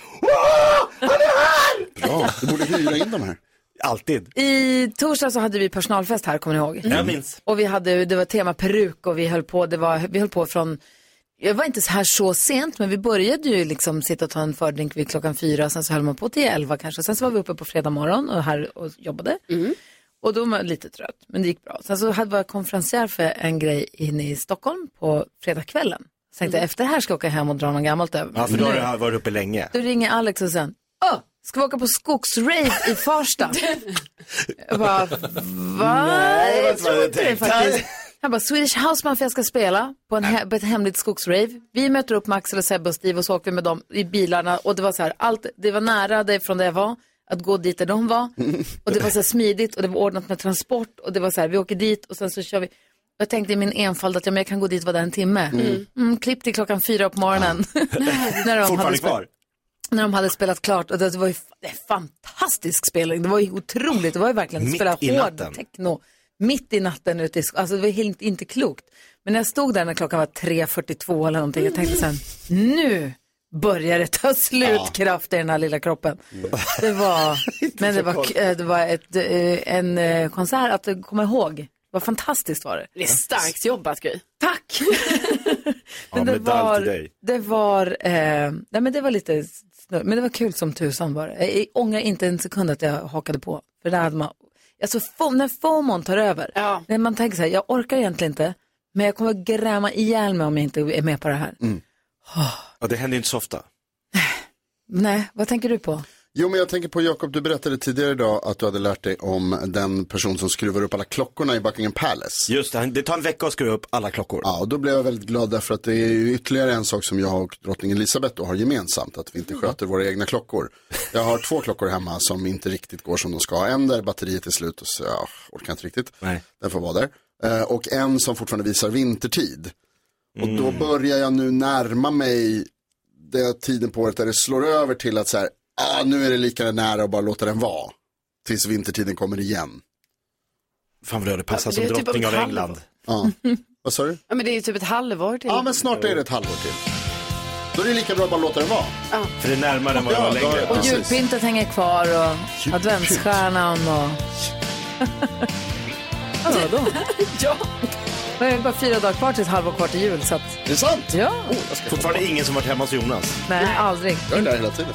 S10: Bra, du borde hyra in de här.
S6: Alltid.
S2: I torsdag så hade vi personalfest här, kommer ni ihåg?
S10: Jag minns.
S2: Och vi hade, det var tema peruk och vi höll på, det var, vi höll på från, jag var inte så här så sent, men vi började ju liksom sitta och ta en fördrink vid klockan fyra, sen så höll man på till elva kanske, sen så var vi uppe på fredag morgon och här och jobbade. Och då var jag lite trött, men det gick bra. Sen så hade jag konferencier för en grej inne i Stockholm på fredagskvällen. Så tänkte jag, efter det här ska jag åka hem och dra något gammalt över mig.
S6: Ja, för då har
S2: Nu-
S6: du varit uppe länge.
S2: då ringer Alex och sen, åh, ska vi åka på skogsrave i Farsta? jag bara, va?
S13: Nej, det
S2: jag
S13: var inte vad
S2: tror
S13: jag
S2: inte det
S13: tänkte.
S2: faktiskt. Han bara, Swedish House Mafia ska spela på, en he- på ett hemligt skogsrave. Vi möter upp Max eller Sebbe och Steve och så åker vi med dem i bilarna. Och det var så här, allt, det var nära det från där jag var, att gå dit där de var. Och det var så här smidigt och det var ordnat med transport. Och det var så här, vi åker dit och sen så kör vi. Jag tänkte i min enfald att ja, men jag kan gå dit och vara där en timme. Mm.
S13: Mm.
S2: klipp till klockan fyra på morgonen. när de hade
S6: Fortfarande
S2: spelat-
S6: kvar.
S2: när de hade spelat klart. Och det var ju f- det är en fantastisk spelning. Det var ju otroligt. Det var ju verkligen att
S13: Mitt
S2: spela
S13: i
S2: hård
S13: natten.
S2: techno. Mitt i natten ute i sk- Alltså det var helt inte klokt. Men när jag stod där när klockan var 3.42 eller någonting. Jag tänkte sen, nu börjar det ta slut kraft i den här lilla kroppen. Det
S13: <laughs>
S2: var, men det
S13: Mm. så
S2: var,
S13: kort.
S2: k- eh, det var ett, eh, en eh, konsert att komma ihåg. Det var fantastiskt var det.
S7: Det är starkt jobbat Gry. <laughs>
S2: Tack!
S6: Ja,
S2: det
S6: medalj
S2: var,
S6: till dig.
S2: det var, eh, nej men det var lite snurr, men det var kul som tusan var det. Jag jag ångrar inte en sekund att jag hakade på. För där hade man, alltså fo, när FOMON tar över, när man tänker så här, jag orkar egentligen inte, men jag kommer gräma ihjäl mig om jag inte är med på det här.
S6: Ja, det händer ju inte så ofta.
S2: Nej, vad tänker du på?
S10: Jo, men jag tänker på Jakob, du berättade tidigare idag att du hade lärt dig om den person som skruvar upp alla klockorna i Buckingham Palace.
S6: Just det, det tar en vecka att skruva upp alla klockor.
S10: Ja, och då blev jag väldigt glad därför att det är ju ytterligare en sak som jag och drottning Elisabeth då har gemensamt, att vi inte
S6: Mm.
S10: sköter våra egna klockor. Jag har två klockor hemma som inte riktigt går som de ska. En där batteriet är slut och så, ja, orkar inte riktigt. Den får vara där. Eh, Och en som fortfarande visar vintertid. Och
S6: Mm.
S10: då börjar jag nu närma mig den tiden på året där det slår över till att så här, ah, nu är det lika nära att bara låta den vara. Tills vintertiden kommer igen.
S6: Fan vad det passar
S7: Ja, som det är typ drottning av ett halvår. England.
S10: Ja.
S7: <laughs>
S10: Vad sa du?
S7: Ja, men det är ju typ ett halvår till.
S10: Ja, men snart är det ett halvår till. Då är det lika bra att bara låta den vara.
S7: Ja.
S6: För det är närmare än vad det var
S10: då-
S6: längre.
S2: Och julpyntet hänger kvar och adventsstjärnan och... öron. <laughs> ja. Det är bara fyra dagar kvar tills halva kvar till jul. Så att...
S6: Är det sant?
S2: Ja.
S6: Fortfarande ingen som varit hemma hos Jonas.
S2: Nej, aldrig.
S10: Jag är där hela tiden.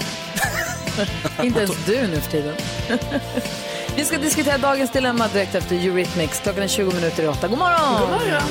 S2: <laughs> Inte ens du nu för tiden. Vi ska diskutera dagens dilemma direkt efter Eurythmics. Klockan är 20 minuter i åtta. God morgon!
S13: God morgon.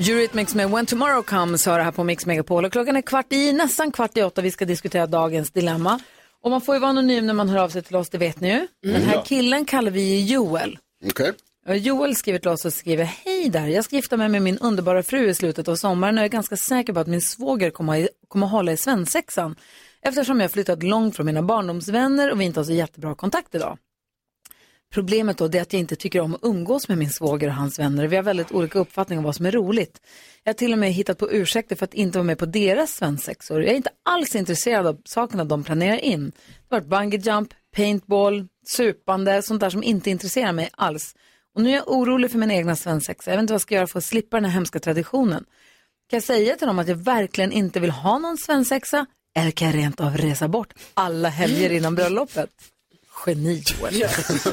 S2: Eurythmics med When Tomorrow Comes hör här på Mix Megapol. Och klockan är kvart i, nästan kvart i åtta. Vi ska diskutera dagens dilemma. Och man får ju vara anonym när man hör av sig till oss, det vet ni ju. Den här
S10: Ja.
S2: killen kallar vi ju Joel.
S10: Okej.
S2: Och Joel skriver till oss och skriver, hej där, jag ska gifta mig med min underbara fru i slutet av sommaren och jag är ganska säker på att min svåger kommer, kommer hålla i svensexan eftersom jag flyttat långt från mina barndomsvänner och vi inte har så jättebra kontakt idag. Problemet då det är att jag inte tycker om att umgås med min svåger och hans vänner. Vi har väldigt olika uppfattningar om vad som är roligt. Jag har till och med hittat på ursäkter för att inte vara med på deras svensexor. Jag är inte alls intresserad av sakerna de planerar in. Det har varit bungee jump, paintball, supande, sånt där som inte intresserar mig alls. Och nu är jag orolig för min egna svensexa. Jag vet inte vad jag ska göra för att slippa den här hemska traditionen. Kan jag säga till dem att jag verkligen inte vill ha någon svensexa? Eller kan jag rent av resa bort alla helger innan bröllopet? Geni Joel.
S6: <laughs>
S2: Gör-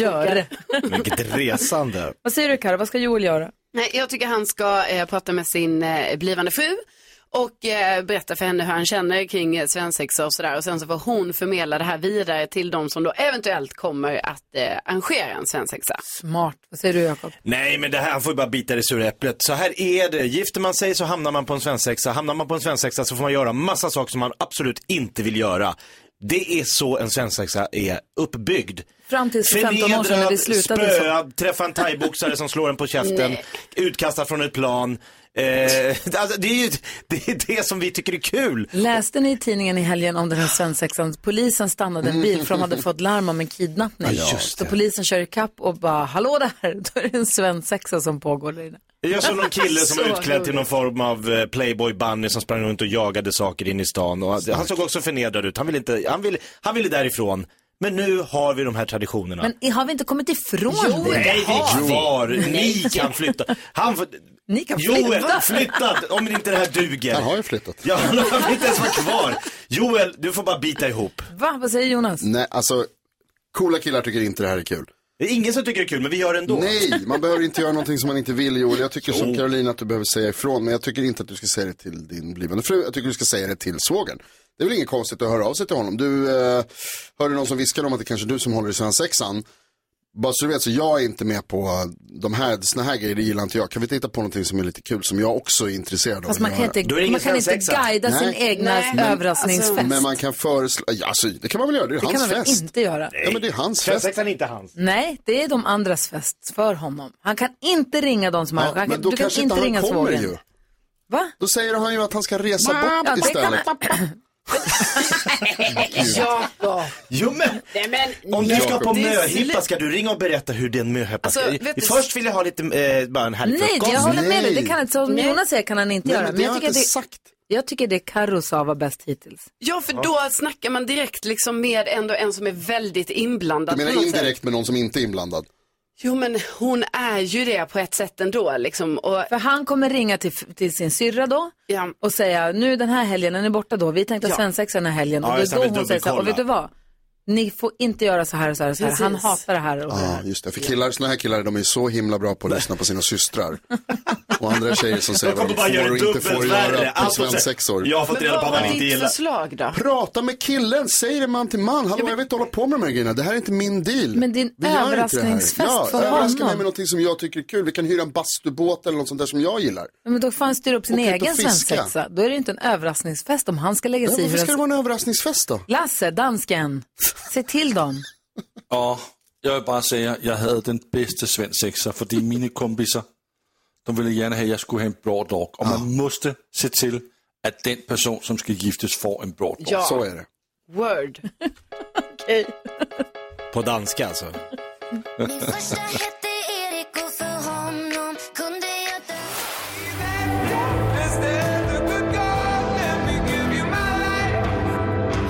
S2: Gör det.
S6: Vilket resande.
S2: Vad säger du Karo, vad ska Joel göra?
S7: Nej, jag tycker han ska eh, prata med sin eh, blivande fru och eh, berätta för henne hur han känner kring eh, svensexa och sådär. Och sen så får hon förmedla det här vidare till de som då eventuellt kommer att eh, arrangera en svensexa.
S2: Smart. Vad säger du Jakob?
S6: Nej, men det här han får ju bara bita i det sura äpplet. Så här är det. Gifter man sig så hamnar man på en svensexa. Hamnar man på en svensexa så får man göra massa saker som man absolut inte vill göra. Det är så en svensexa är uppbyggd.
S2: Fram till 15 år sedan när vi slutade så.
S6: spöad, träffa en thaiboxare som slår en på käften,
S2: <laughs> Nej.
S6: utkastad från ett plan. Eh, <laughs> alltså, det är ju det, är det som vi tycker är kul.
S2: Läste ni i tidningen i helgen om den här svensexan? Polisen stannade en bil för de hade fått larm om en kidnappning.
S6: Ja, just
S2: Så polisen kör ikapp och bara, hallå där, <laughs> då är det en svensexa som pågår där inne.
S6: Jag såg någon kille som
S2: <laughs>
S6: var
S2: Så
S6: utklädd till någon form av eh, playboy bunny som sprang runt och jagade saker in i stan. Och han- han såg också förnedrad ut. Han ville, inte, han, ville, han ville därifrån. Men nu har vi de här traditionerna.
S2: Men i- har vi inte kommit ifrån det?
S6: Nej, vi är kvar. Ni
S2: Nej.
S6: kan flytta. Han, får-
S2: Ni kan
S6: Joel,
S2: flytta.
S6: flyttat! Om inte det här duger. Han har
S10: ju flyttat.
S6: Ja, han har inte ens varit kvar. Joel, du får bara bita ihop.
S2: Va, vad säger Jonas?
S10: Nej, alltså coola killar tycker inte det här är kul.
S6: Det är ingen som tycker det är kul, men vi gör det ändå.
S10: Nej, man behöver inte göra någonting som man inte vill Joel. Jag tycker som Caroline att du behöver säga ifrån, men jag tycker inte att du ska säga det till din blivande fru. Jag tycker du ska säga det till svågern. Det är väl inget konstigt att höra av sig till honom. Du, eh, hörde någon som viskade om att det kanske är du som håller i svensexan. Bara så du vet, så jag är inte med på de här, såna här grejer, det gillar inte jag. Kan vi titta på någonting som är lite kul, som jag också är intresserad av
S2: Fast
S10: att
S2: man kan
S10: göra?
S2: inte- Då är det ingen man kan inte svensexa. guida sin egna Men- överrassningsfest.
S10: Men man kan föreslå, ja, alltså, det kan man väl göra, det är
S2: Det kan
S10: hans
S2: man väl
S10: fest.
S2: inte göra?
S10: Ja, men det är hans fest.
S6: är inte hans.
S2: Nej, det är de andras fest för honom. Han kan inte ringa de som har...
S10: Ja,
S2: Han,
S10: men
S2: kan-
S10: då
S2: du kan
S10: kanske
S2: inte
S10: inte
S2: ringa
S10: han kommer
S2: svågern.
S10: ju.
S2: Va?
S10: Då säger han ju att han ska resa
S2: Ja,
S10: bort
S2: det kan-
S10: istället.
S7: <laughs> Jakob!
S6: Jo, men,
S7: Nej, men
S6: om du
S7: nej,
S6: ska på
S7: det är
S6: möhippa
S7: slut.
S6: ska du ringa och berätta hur din möhippa ska...
S7: Alltså, vet du-
S6: Först vill jag ha lite, eh, bara en härlig
S2: Nej,
S6: frukost.
S2: jag håller med dig. Det kan inte, som Jonas säger kan han inte
S6: Nej,
S2: göra.
S6: men det har jag
S2: tycker
S6: inte
S2: att det, jag tycker det Carro sa var bäst hittills.
S7: Ja, för då snackar man direkt liksom med ändå en som är väldigt inblandad.
S10: Du
S7: på
S10: menar
S7: något sätt.
S10: indirekt med någon som inte är inblandad?
S7: Jo, men hon är ju det på ett sätt ändå. Liksom. Och...
S2: För han kommer ringa till, till sin syrra då och säga Eh, nu den här helgen, den är borta då, vi tänkte
S7: Ja.
S2: ja. svensexa den här helgen.
S10: Ja,
S2: och
S10: just
S2: det
S10: det,
S2: är då
S10: han vill
S2: hon säger så här, och vet
S10: dubbelkolla.
S2: du vad? Ni får inte göra så här och så här och så här. Han
S10: Precis.
S2: hatar det här. Och
S10: Ja, just det. För killar, såna här killar, de är så himla bra på att lyssna på sina systrar. Och andra tjejer som säger
S6: De
S10: vad
S6: kommer
S10: de
S6: bara göra
S10: får och
S6: det
S10: inte får
S6: dubbelt värre.
S10: göra på
S6: Allt de säger.
S10: svensexor.
S6: Jag har fått Men reda på vad vad var han inte ditt gillar.
S7: förslag då?
S10: Prata med killen, säg det man till man. Hallå, jag vill inte hålla på med de här grejerna. Det här är inte min deal.
S2: Men din
S10: Vi gör inte det här.
S2: överraskningsfest
S10: ja,
S2: för
S10: Överraska mig
S2: honom.
S10: med någonting som jag tycker är kul. Vi kan hyra en bastubåt eller något sånt där som jag gillar.
S2: Ja, Men då får han styra upp sin
S10: Åka ut och
S2: egen
S10: fiska.
S2: svensexa. Då är det ju inte en överraskningsfest om han ska lägga
S10: Ja,
S2: sig i
S10: varför
S2: hur
S10: ska det
S2: en-
S10: vara en överraskningsfest då?
S2: Lasse, dansken, se till dem.
S9: Og jeg vil bare sige, at jeg havde den bedste svensexer, fordi mine kompiser, de ville gerne have, at jeg skulle have en blå dog. Og man måste se til, at den person, som skal giftes, får en blå dog.
S7: Ja. Så er det.
S2: <laughs>
S7: Word. Okej.
S6: På danska alltså. <laughs>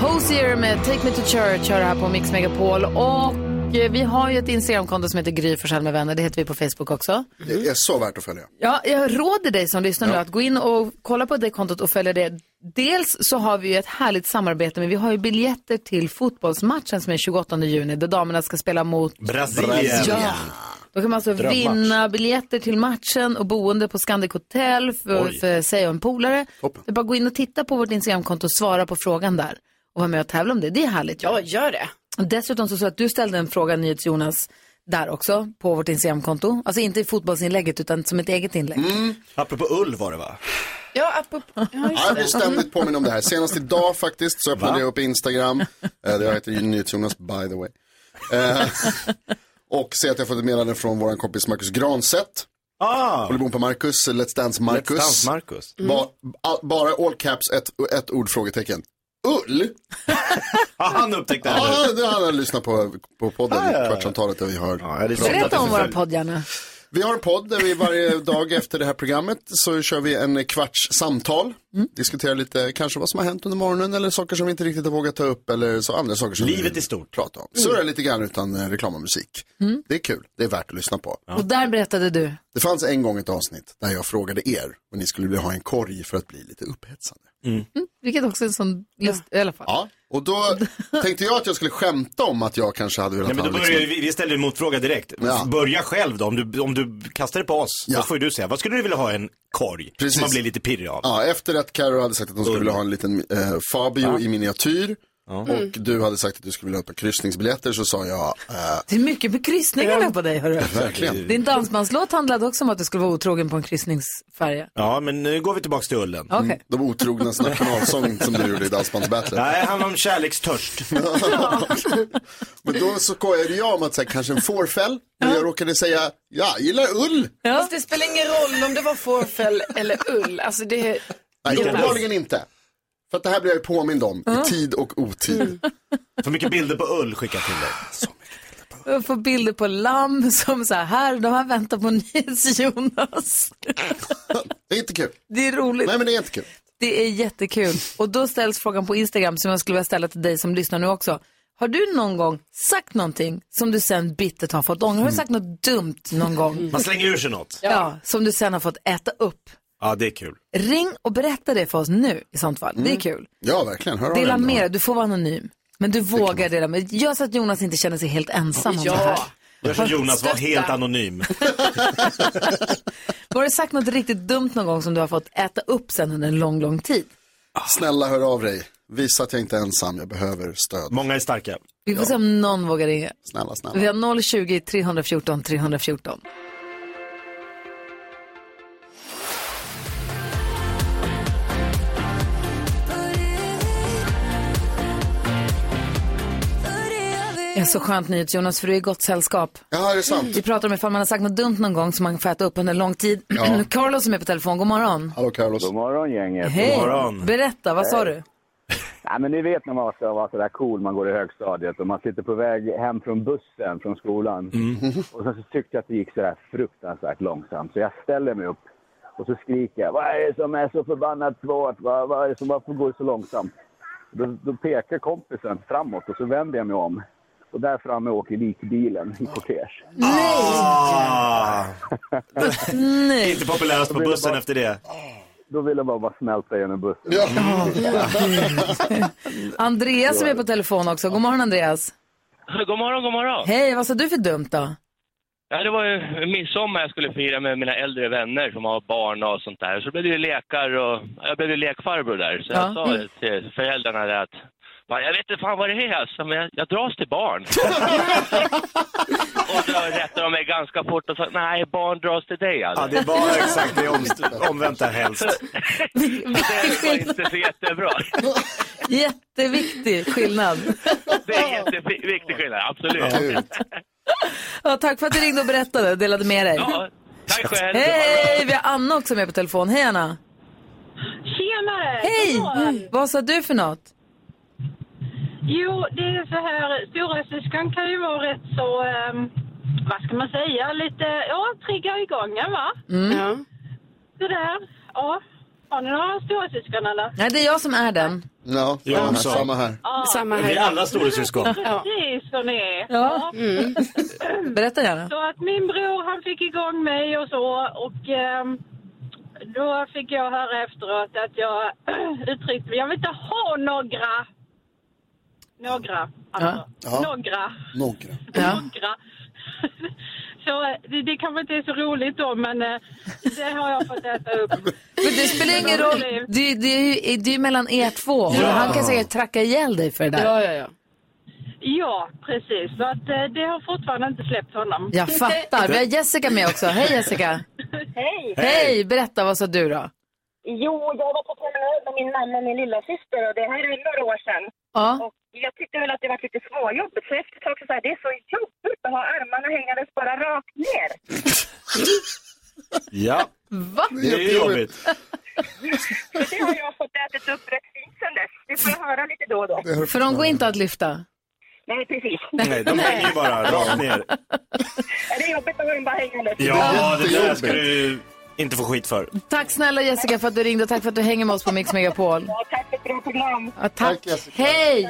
S2: Hosier med Take Me To Church hör här på Mix Megapol. Och eh, vi har ju ett Instagramkonto som heter Gry Forssell med vänner. Det heter vi på Facebook också.
S10: Det är så värt att följa.
S2: Ja, jag råder dig som lyssnar nu att gå in och kolla på det kontot och följa det. Dels så har vi ju ett härligt samarbete, men vi har ju biljetter till fotbollsmatchen som är 28 juni, där damerna ska spela mot
S6: Brasilien.
S2: Ja. Då kan man alltså
S6: Drömmatch.
S2: vinna biljetter till matchen och boende på Scandic Hotel för,
S6: Oj.
S2: för sig och en polare. Det är bara att gå in och titta på vårt Instagramkonto och svara på frågan där och vara med och tävla om det. Det är härligt. Ja,
S7: gör det.
S2: Dessutom så sa jag att du ställde en fråga, NyhetsJonas, där också på vårt Instagramkonto. Alltså inte i fotbollsinlägget utan som ett eget inlägg.
S10: Mm.
S6: Apropå ull var det va?
S7: Ja, apropå... Ja,
S10: Ja, jag blir
S7: just det.
S10: ständigt påminn om det här. Senast idag faktiskt så öppnade jag upp Instagram. Eh, Det heter ju NyhetsJonas by the way. Eh, Och ser att jag fått ett meddelande från vår kompis Marcus Granset.
S6: Ah.
S10: Håller på Marcus, eh, Let's Dance Marcus.
S6: Let's Dance Marcus. Mm.
S10: Ba- all- bara all caps, ett, ett ord, frågetecken. Ull?
S6: <laughs> Ja,
S10: <laughs>
S6: han upptäckte det
S10: Ja,
S6: här
S10: det har han lyssnat på, på podden, kvartsamtalet där vi har
S2: Berätta om våra podd gärna.
S10: vi har en podd där vi varje dag efter det här programmet så kör vi en kvarts samtal.
S2: Mm.
S10: Diskuterar lite kanske vad som har hänt under morgonen eller saker som vi inte riktigt har vågat ta upp eller så andra saker som
S6: Livet
S10: vi
S6: i stort.
S10: Prata
S2: Mm.
S10: om. Surra lite grann utan eh, reklam och musik. Det är kul, det är värt att lyssna på.
S2: Och där berättade du. Mm,
S10: Det fanns en gång ett avsnitt där jag frågade er och ni skulle vilja ha en korg för att bli lite upphetsande.
S6: Mm.
S2: Vilket också är en sån lust, i alla fall.
S10: Ja, och då tänkte jag att jag skulle skämta om att jag kanske hade velat
S6: Nej, men då
S10: ha liksom
S6: börjar ju vi, vi ställer en motfråga direkt.
S10: Ja.
S6: Börja själv då, om du, om du kastar det på oss.
S10: Ja.
S6: Då får ju du säga, vad skulle du vilja ha en korg?
S10: Precis.
S6: Som man blir lite pirrig av.
S10: Ja, efter att Carro hade sagt att hon skulle vilja ha en liten eh, Fabio i miniatyr.
S2: Mm.
S10: Och du hade sagt att du skulle vilja ha ett par kryssningsbiljetter så sa jag, eh,
S2: Det är mycket på kryssningarna på dig, hörru.
S10: Verkligen.
S2: Din dansbandslåt handlade också om att du skulle vara otrogen på en kryssningsfärja.
S6: Ja, men nu går vi tillbaka till ullen.
S2: Okej. Mm,
S10: de otrognas
S6: <laughs>
S10: nationalsång som du gjorde i Dansbandsbattlet.
S6: Nej, det handlar
S10: <laughs>
S6: om kärlekstörst.
S10: men då skojade jag om att säga kanske en fårfäll. Men jag råkade säga, ja, jag gillar ull.
S7: Fast det spelar ingen roll om det var fårfäll eller ull. Alltså det...
S10: Nej,
S7: Jonas.
S10: uppenbarligen inte. För att det här blir jag ju påmind om i tid och otid.
S2: Mm.
S6: För mycket bilder på ull skickat till dig.
S2: Jag får bilder på lamm som så här, här, de här väntar på Nils-Jonas.
S10: Det är inte kul.
S2: Det är roligt.
S10: Nej, men det är inte kul.
S2: Det är jättekul. Och då ställs frågan på Instagram som jag skulle vilja ställa till dig som lyssnar nu också. Har du någon gång sagt någonting som du sen bittert har fått ånger? Har du sagt något dumt någon gång?
S6: Mm. Man slänger ur sig något.
S2: Ja. som du sen har fått äta upp.
S6: Ja, det är kul.
S2: Ring och berätta det för oss nu i sånt fall. Det är
S10: Mm.
S2: kul.
S10: Ja, verkligen. Hör av er
S2: Dela
S10: om ni har-
S2: med dig, du får vara anonym. Men du vågar dela med dig. Gör så att Jonas inte känner sig helt ensam om det här.
S6: Gör som Jonas, var helt anonym.
S2: Har du sagt något riktigt dumt någon gång som du har fått äta upp sen under en lång, lång tid?
S10: Snälla hör av dig. Visa att jag inte är ensam, jag behöver stöd.
S6: Många är starka.
S2: Vi får se om någon vågar ringa.
S10: Snälla, snälla.
S2: Vi har 020 314 314. Det är så skönt nyhet Jonas, för du är i gott sällskap.
S10: Ja, är det sant?
S2: Vi pratar om ifall man har sagt något dumt någon gång som man får äta upp under lång tid.
S15: Ja.
S2: <clears throat> Carlos som är på telefon, god morgon.
S10: Hallå Carlos.
S15: God morgon gänget.
S2: Hej. Berätta, vad sa
S15: Hej.
S2: du?
S15: Nej, men ni vet när man ska vara sådär cool, man går i högstadiet och man sitter på väg hem från bussen från skolan.
S6: Mm.
S15: Och sen så tyckte jag att det gick sådär fruktansvärt långsamt så jag ställer mig upp och så skriker jag. Vad är det som är så förbannat svårt? Vad, vad är det som, varför går det så långsamt? Då, då pekar kompisen framåt och så vänder jag mig om. Och där framme åker likbilen i kortege.
S6: Ah.
S2: Nej.
S6: Inte populärast på bussen efter det.
S15: Då vill jag bara, bara smälta genom bussen.
S2: <laughs> Andreas som är på telefon också, god morgon Andreas.
S16: God morgon, god morgon.
S2: Hej, vad sa du för dumt då?
S16: Ja, det var ju midsommar jag skulle fira med mina äldre vänner som har barn och sånt där. Så blev det ju lekar och jag blev ju lekfarbror där. Så
S2: Ja.
S16: jag sa det till föräldrarna där att "Fan, jag vet inte fan vad det är alltså, men jag, jag dras till
S6: <laughs>
S16: barn. och då rättade de mig ganska fort och sa nej, barn dras till dig alltså.
S6: Ja, det var exakt det omst- omvända helst.
S16: <laughs> Det var inte så jättebra.
S2: Jätteviktig
S16: <laughs>
S2: skillnad.
S16: Det är en jätteviktig skillnad, absolut.
S2: Ja, tack för att du ringde och berättade och delade med dig.
S16: Ja, tack själv.
S2: Hej, vi har Anna också med på telefon. Hej Anna.
S14: Tjenare!
S2: Hej! Mm.
S14: God morgon.
S2: Vad sa du för något?
S14: Jo, det är så här, storasyskon kan ju vara rätt så, ehm, vad ska man säga, lite, ja, triggar igång en va?
S2: Mm.
S14: Det där, ja. Har ni några storasyskon eller?
S2: Nej, det är jag som är den.
S10: Ja,
S6: Jag
S10: samma här,
S6: också.
S10: samma här.
S14: Ja.
S6: Samma här. Vi är alla storasyskon.
S14: Ja. Precis som ni är.
S2: Ja. Mm.
S14: <laughs>
S2: Berätta gärna.
S14: Så att min bror han fick igång mig och så och ehm, då fick jag höra efteråt att jag <clears throat> uttryckte mig. Jag vill inte ha några. Några, alltså.
S10: Ja.
S14: Några.
S10: Några.
S14: Några. <laughs> Så eh, det, det kanske inte är så roligt då, men eh, det har jag fått äta upp.
S2: <laughs> Men det spelar ingen roll. Det, det, är ju- det är ju mellan er två.
S14: Ja.
S2: Han kan säkert tracka ihjäl dig för det där.
S7: ja.
S14: Ja, precis. Så att, eh, det har fortfarande inte släppt honom.
S2: Jag fattar. Vi har Jessica med också. Hej Jessica.
S17: Hej!
S2: Hej, berätta vad sa du då?
S17: Jo, jag var på promenad med min mamma och min lillasyster och det här är några år sedan.
S2: Ja.
S17: Och jag tyckte väl att det var lite småjobbigt så efter ett tag så sa jag, det är så jobbigt att ha armarna hängandes bara rakt ner.
S6: Ja.
S2: <laughs> Va?
S6: Det är jobbigt.
S17: Så det har jag fått ätit upp rätt fint sedan dess. Det får jag höra lite då och då.
S2: För de går inte att lyfta.
S17: Nej, precis.
S6: Nej, de hänger ju bara
S10: <laughs>
S6: rakt ner.
S17: <laughs> Är det jobbigt att ha dem bara hängandes?
S6: Ja, det där ska du inte få skit för.
S2: Tack snälla Jessica för att du ringde och tack för att du hänger med oss på Mix Megapol. Ja,
S17: tack för ett bra program.
S2: tack. Hej!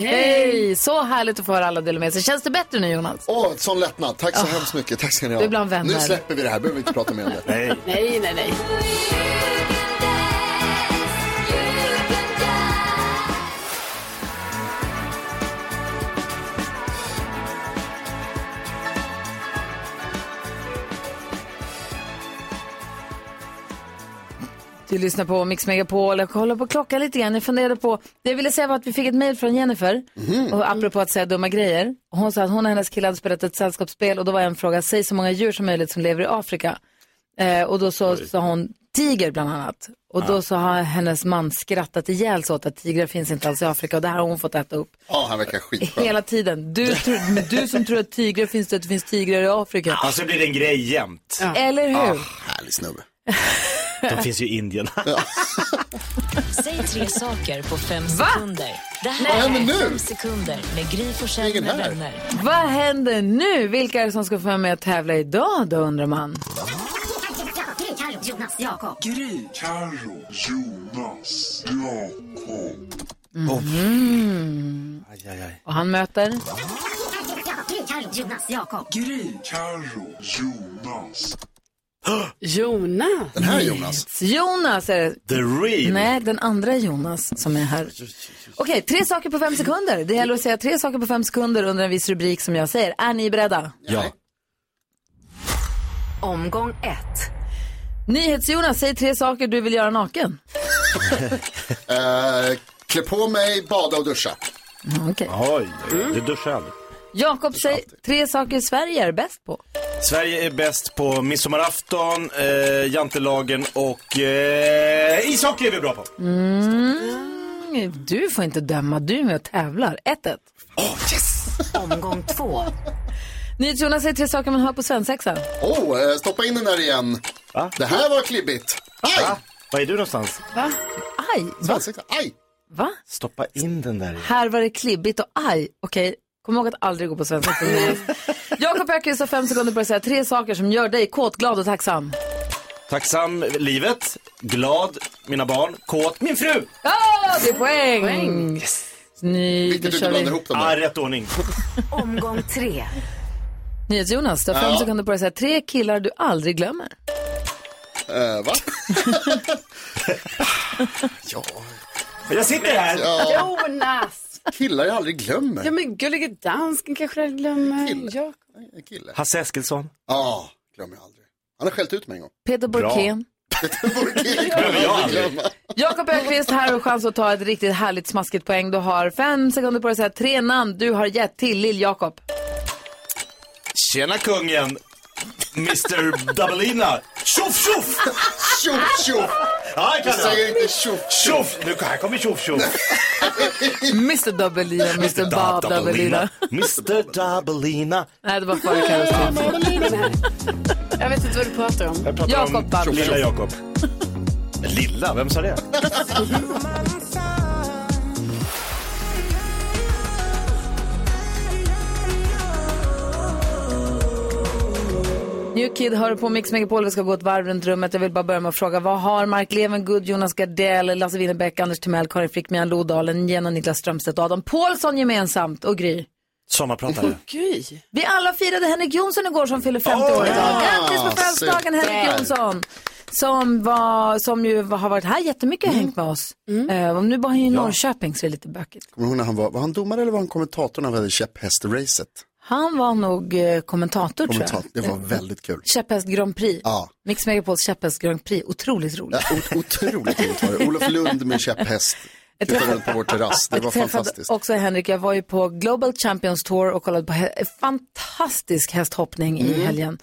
S2: Hej! Så härligt att få höra alla dela med sig. Känns det bättre nu Jonas?
S10: Åh, ett sån lättnad. Tack så hemskt mycket. Tack ska ni ha.
S2: Det är bland vänner.
S10: Nu släpper vi det här, behöver vi inte prata mer om det.
S6: Nej.
S7: Nej, nej, nej.
S2: Du lyssnar på Mix Megapol. Jag kollar på klockan lite grann. Jag funderade på, det jag ville säga var att vi fick ett mejl från Jennifer. Och apropå att säga dumma grejer. Och Hon sa att hon och hennes kille hade spelat ett sällskapsspel och då var en fråga, säg så många djur som möjligt som lever i Afrika. Eh, och då så, sa hon tiger bland annat. Och då så har hennes man skrattat ihjäl sig åt att tigrar finns inte alls i Afrika och det här har hon fått äta upp.
S10: Ja, han verkar
S6: <laughs>
S10: skitskön.
S2: Hela tiden. Du, tror- men du som tror att tigrar finns det, att det finns tigrar i Afrika.
S6: Alltså blir det en grej jämt.
S2: Ja. Eller hur?
S10: härlig snubbe.
S6: De finns ju i
S10: <laughs>
S6: Indien.
S1: Säg
S2: <laughs>
S1: tre saker på fem
S2: Va?
S1: sekunder. Det här
S2: Vad händer
S1: är
S2: nu?
S1: fem sekunder med Gry Forssell med vänner.
S2: Vad händer nu? Vilka är det som ska få vara med och tävla idag då undrar man?
S13: Gry, Carro, Jonas, Jakob. Gry, Carro, Jonas, Jakob.
S2: Mm. Och han möter?
S13: Gry, Carro, Jonas, Jakob. Gry, Carro, Jonas.
S7: Jonas.
S10: Den här Jonas.
S2: Jonas är det.
S6: The real.
S2: Nej, den andra är Jonas som är här. Okej, tre saker på fem sekunder. Det gäller att säga tre saker på fem sekunder under en viss rubrik som jag säger. Är ni beredda?
S6: Ja.
S2: Omgång ett. NyhetsJonas, säg tre saker du vill göra naken.
S10: Eh, klä på mig, bada och duscha.
S2: Mm, Okej.
S6: Oj, du duschar aldrig.
S2: Jakob, säg tre saker Sverige är bäst på.
S6: Sverige är bäst på midsommarafton, eh, jantelagen och eh, ishockey är vi bra på.
S2: Mm, du får inte döma, du är med och tävlar. 1-1.
S1: Omgång två.
S2: NyhetsJonas, säg tre saker man hör på svensexan.
S10: Åh, eh, stoppa in den där igen. Det här var klibbigt. Aj!
S6: Var är du någonstans?
S2: Va? Aj! Va?
S10: Aj!
S2: Va?
S6: Stoppa in den där.
S2: Här var det klibbigt och aj. Okej, kom ihåg att aldrig gå på svenska
S6: <laughs>
S2: skolor. Jakob Öqvist har fem sekunder på sig att säga tre saker som gör dig kåt, glad och tacksam.
S6: Tacksam livet, glad, mina barn, kåt, min fru.
S2: Ja, det är poäng!
S6: Poäng.
S2: Ny,
S6: Vilket
S2: då kör vi.
S6: Ah, rätt ordning.
S1: Omgång tre.
S2: NyhetsJonas, du har fem
S6: Ja.
S2: sekunder på dig att säga tre killar du aldrig glömmer.
S10: Eh, va? ja.
S6: Jag sitter här.
S10: Ja.
S7: Jonas!
S10: Killar jag aldrig glömmer.
S7: Ja, men gullige dansken kanske jag glömmer. Jag...
S6: Hasse Eskilsson.
S10: Ja, glömmer jag aldrig. Han har skällt ut mig en gång.
S2: Peter Borkén.
S6: Glömmer jag aldrig.
S2: Jakob Öqvist här och chans att ta ett riktigt härligt smaskigt poäng. Du har fem sekunder på dig att säga tre namn du har gett till Lill-Jakob.
S6: Tjena kungen, Mr. Dubbelina. Tjoff tjoff!
S10: Tjoff tjoff!
S6: Ja, jag kan
S10: Du säger
S6: det.
S10: inte tjoff
S6: tjoff. Nu, här kommer tjoff tjoff.
S2: Mr Dubbelina, Mr Bob Dubbelina.
S6: Mr Dubbelina.
S2: Nej, det var före Carros
S7: jag vet inte vad du pratar om.
S6: Jag pratar
S2: Jakob
S6: om
S2: Babben. <laughs>
S6: lilla Jakob. Lilla? Vem sa det?
S2: New Kid hör på Mix Megapol. Vi ska gå ett varv runt rummet. Jag vill bara börja med att fråga. Vad har Mark Levengood, Jonas Gardell, Lasse Winnerbäck, Anders Timell, Karin Frickman, Lodalen, Jenna Niklas Strömstedt och Adam Paulsson gemensamt? Och Gry.
S6: Sommarpratare.
S7: Gry.
S2: Vi alla firade Henrik Jonsson igår som fyller 50 år idag. Grattis på födelsedagen Henrik Jonsson! som, var, som ju har varit här jättemycket och hängt med oss. Eh, och nu bor han ju i
S10: Mm. Ja.
S2: Norrköping så det är lite bökigt.
S10: Kommer du ihåg när han var, var han domare eller var han kommentator när vi hade käpphästracet?
S2: Han var nog eh, kommentator,
S10: Kommentator,
S2: tror
S10: det
S2: jag.
S10: var väldigt kul.
S2: Käpphäst Grand Prix.
S10: Ja,
S2: Mix Megapols käpphäst Grand Prix. Otroligt roligt.
S10: o- otroligt roligt var det. Olof Lund med käpphäst. Tittade runt på vår terrass, det var
S2: Jag träffade
S10: fantastiskt.
S2: också Henrik, jag var ju på Global Champions Tour och kollade på hä- fantastisk hästhoppning i
S8: Mm.
S2: helgen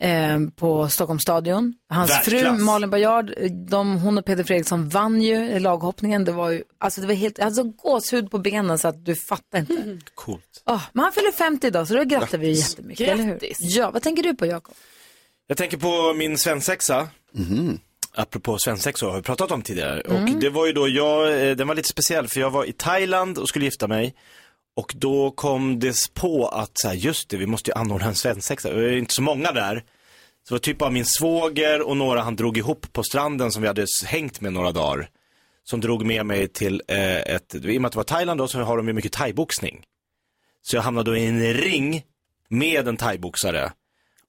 S2: eh, på Stockholmsstadion. Hans
S8: Världsklass.
S2: fru Malin Bajard, de, hon och Peter Fredriksson vann ju laghoppningen. Det var ju, alltså det var helt, jag hade så gåshud på benen så att du fattar inte.
S10: Mm.
S6: Coolt.
S2: Ah, men han fyller 50 idag så då grattar vi ju
S6: Grattis.
S2: jättemycket, eller hur?
S6: Grattis.
S2: Ja, vad tänker du på Jakob?
S6: Jag tänker på min svensexa. Apropå svensexor har vi pratat om tidigare.
S2: Mm.
S6: Och det var ju då jag, eh, den var lite speciell för jag var i Thailand och skulle gifta mig. Och då kom det på att så här, just det, vi måste ju anordna en svensexa. Det var ju inte så många där. Så det var typ av min svåger och några han drog ihop på stranden som vi hade s- hängt med några dagar. Som drog med mig till eh, ett, i och med att det var Thailand då så har de ju mycket thaiboxning. Så jag hamnade då i en ring med en thaiboxare.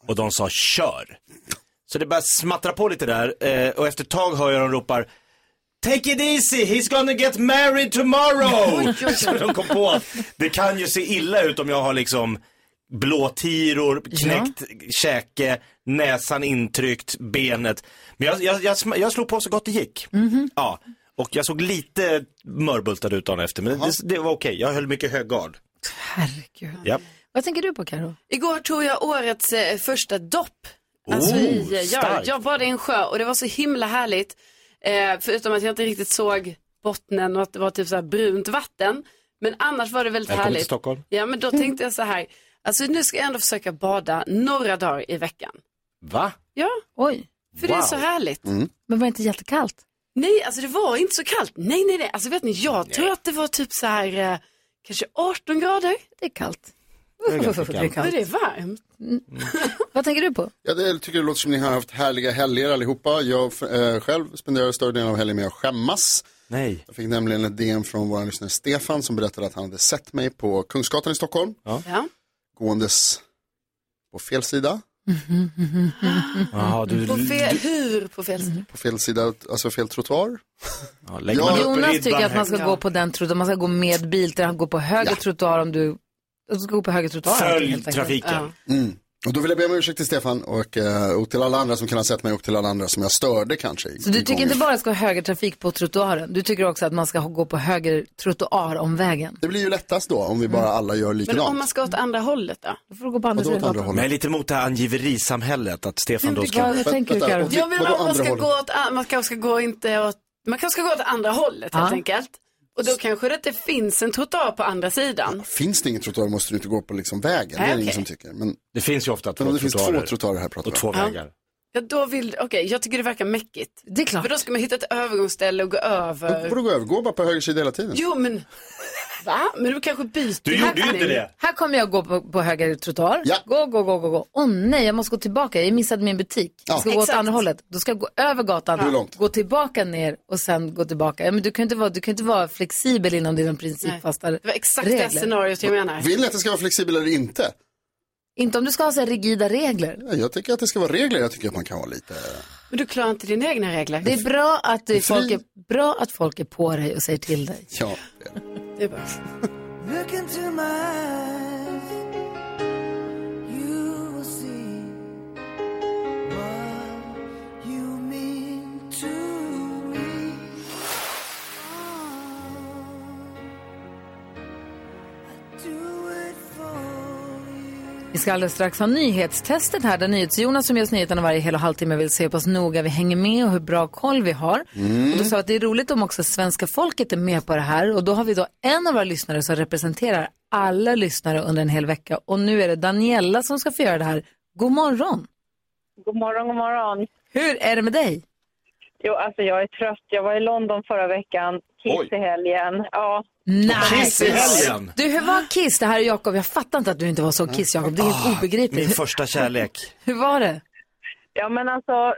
S6: Och de sa kör. Så det började smattra på lite där eh, och efter ett tag hör jag dem ropar Take it easy, he's gonna get married tomorrow!
S13: <laughs> Oj, oj, oj.
S6: Så de kom på att det kan ju se illa ut om jag har liksom blåtiror, knäckt käke, näsan intryckt, benet. Men jag, jag, jag, sm- jag slog på så gott det gick.
S7: Mhm.
S6: Ja, och jag såg lite mörbultad ut dagen efter, men det, det var okej. Jag höll mycket hög gard.
S2: Herregud.
S6: Ja.
S2: Vad tänker du på Karo?
S7: Igår tog jag årets eh, första dopp.
S6: Oh,
S7: Alltså, i, eh, jag,
S6: starkt.
S7: jag bad i en sjö och det var så himla härligt. Eh, förutom att jag inte riktigt såg bottnen och att det var typ så här brunt vatten. Men annars var det väldigt
S6: Välkommen
S7: härligt.
S6: till Stockholm.
S7: Ja, men då
S2: Mm.
S7: tänkte jag så här. Alltså nu ska jag ändå försöka bada några dagar i veckan.
S6: Va?
S7: Ja.
S2: Oj.
S7: För det är så härligt.
S10: Mm.
S2: Men var det inte jättekallt?
S7: Nej, alltså det var inte så kallt. Nej, nej, nej. Alltså vet ni, jag tror att det var typ så här eh, kanske 18 grader.
S2: Det är kallt.
S10: Det är
S2: <laughs>
S10: ganska kallt.
S7: Men det är varmt.
S2: Mm. Vad tänker du på?
S10: Jag det- jag tycker det låter som ni har haft härliga helger allihopa. Jag eh, själv spenderade större delen av helgen med att skämmas.
S6: Nej.
S10: Jag fick nämligen ett DM från vår lyssnare Stefan som berättade att han hade sett mig på Kungsgatan i Stockholm.
S7: Ja.
S10: Gåendes på fel sida.
S13: Mm,
S6: Jaha,
S7: På fel, hur på fel sida?
S10: på fel sida, alltså fel trottoar.
S6: Ja,
S2: Jonas tycker att man ska gå på den trottoaren, man ska gå med bil, där han går på höger trottoar om du... Du ska gå på höger trottoar. helt enkelt. Ja.
S10: Mm. Och då vill jag be om ursäkt till Stefan och, eh, och till alla andra som kan ha sett mig och till alla andra som jag störde kanske. i-
S2: Så du
S10: i
S2: tycker
S10: gången.
S2: inte bara det ska vara högertrafik på trottoaren, du tycker också att man ska gå på höger trottoar om vägen.
S10: Det blir ju lättast då om vi bara alla gör
S7: Men
S10: likadant.
S7: om man ska åt andra hållet då?
S2: Då får du gå på andra
S6: Men jag är lite emot det här angiverisamhället, att Stefan
S7: Jo,
S6: då
S7: det
S6: ska...
S7: kan- jag tänker
S10: Vänta, Karo.
S7: Ja, men
S10: Vadå
S7: man,
S10: andra
S7: ska
S10: hållet?
S7: gå åt, an- man kanske ska gå inte åt, man kanske ska gå åt andra hållet helt
S10: Ja.
S7: enkelt. Och då kanske det inte finns en trottoar på andra sidan.
S10: Finns det ingen trottoar måste du inte gå på liksom vägen. det är
S7: Nej,
S10: ingen
S7: okej.
S10: som tycker. Men
S6: det finns ju ofta
S10: men om
S6: två
S10: det finns
S6: trottoarer.
S10: två trottoarer här pratar
S6: Och två
S10: vi om.
S6: vägar.
S7: Ja, då vill, okej, jag tycker det verkar mäckigt.
S2: Det är klart.
S7: För då ska man hitta ett övergångsställe och gå över.
S10: Då får du gå över, gå bara på höger sida hela tiden.
S7: <laughs> Jo, men, va? Men du kanske byter.
S10: Du gjorde ju inte det.
S2: Här kommer jag gå på, på höger trottoar. Gå, gå, gå, gå, gå. Åh nej, jag måste gå tillbaka. Jag missade min butik. Jag ska gå åt
S7: Exakt.
S2: andra hållet. Då ska jag gå över gatan,
S7: Hur långt?
S2: gå tillbaka ner och sen gå tillbaka. Ja, men du kan ju inte vara, du kan ju inte vara flexibel inom dina principfasta regler.
S7: Det var exakt det scenariot jag menar.
S10: Vill ni att det ska vara flexibelt eller inte?
S2: Inte om du ska ha så här rigida regler.
S10: Nej, Jag tycker att det ska vara regler, jag tycker att man kan vara lite...
S7: Men du klarar inte dina egna regler.
S2: Det är bra att, det,
S10: Fri-
S2: folk, är, bra att folk är på dig och säger till dig.
S10: Ja.
S7: Det är bra.
S13: Look into my eyes. You will see what you mean to me. I do it for
S2: Vi ska alldeles strax ha nyhetstestet här, där NyhetsJonas som ger oss nyheterna varje hel och halvtimme vill se hur pass noga vi hänger med och hur bra koll vi har.
S13: Mm.
S2: Och då sa jag att det är roligt om också svenska folket är med på det här och då har vi då en av våra lyssnare som representerar alla lyssnare under en hel vecka och nu är det Daniela som ska få göra det här. God morgon!
S18: God morgon, god morgon.
S2: Hur är det med dig?
S18: Jo, alltså jag är trött. Jag var i London förra veckan. Kiss
S2: Oj.
S18: i helgen. Ja.
S2: Nej.
S18: Kiss i helgen? Mm.
S2: Du, hur var Kiss? Det här är Jakob. Jag fattar inte att du inte var så Kiss, Jakob. Det är
S18: Ah.
S2: helt
S6: Min
S2: obegripligt.
S6: första kärlek.
S2: Hur var det?
S18: Ja, men alltså,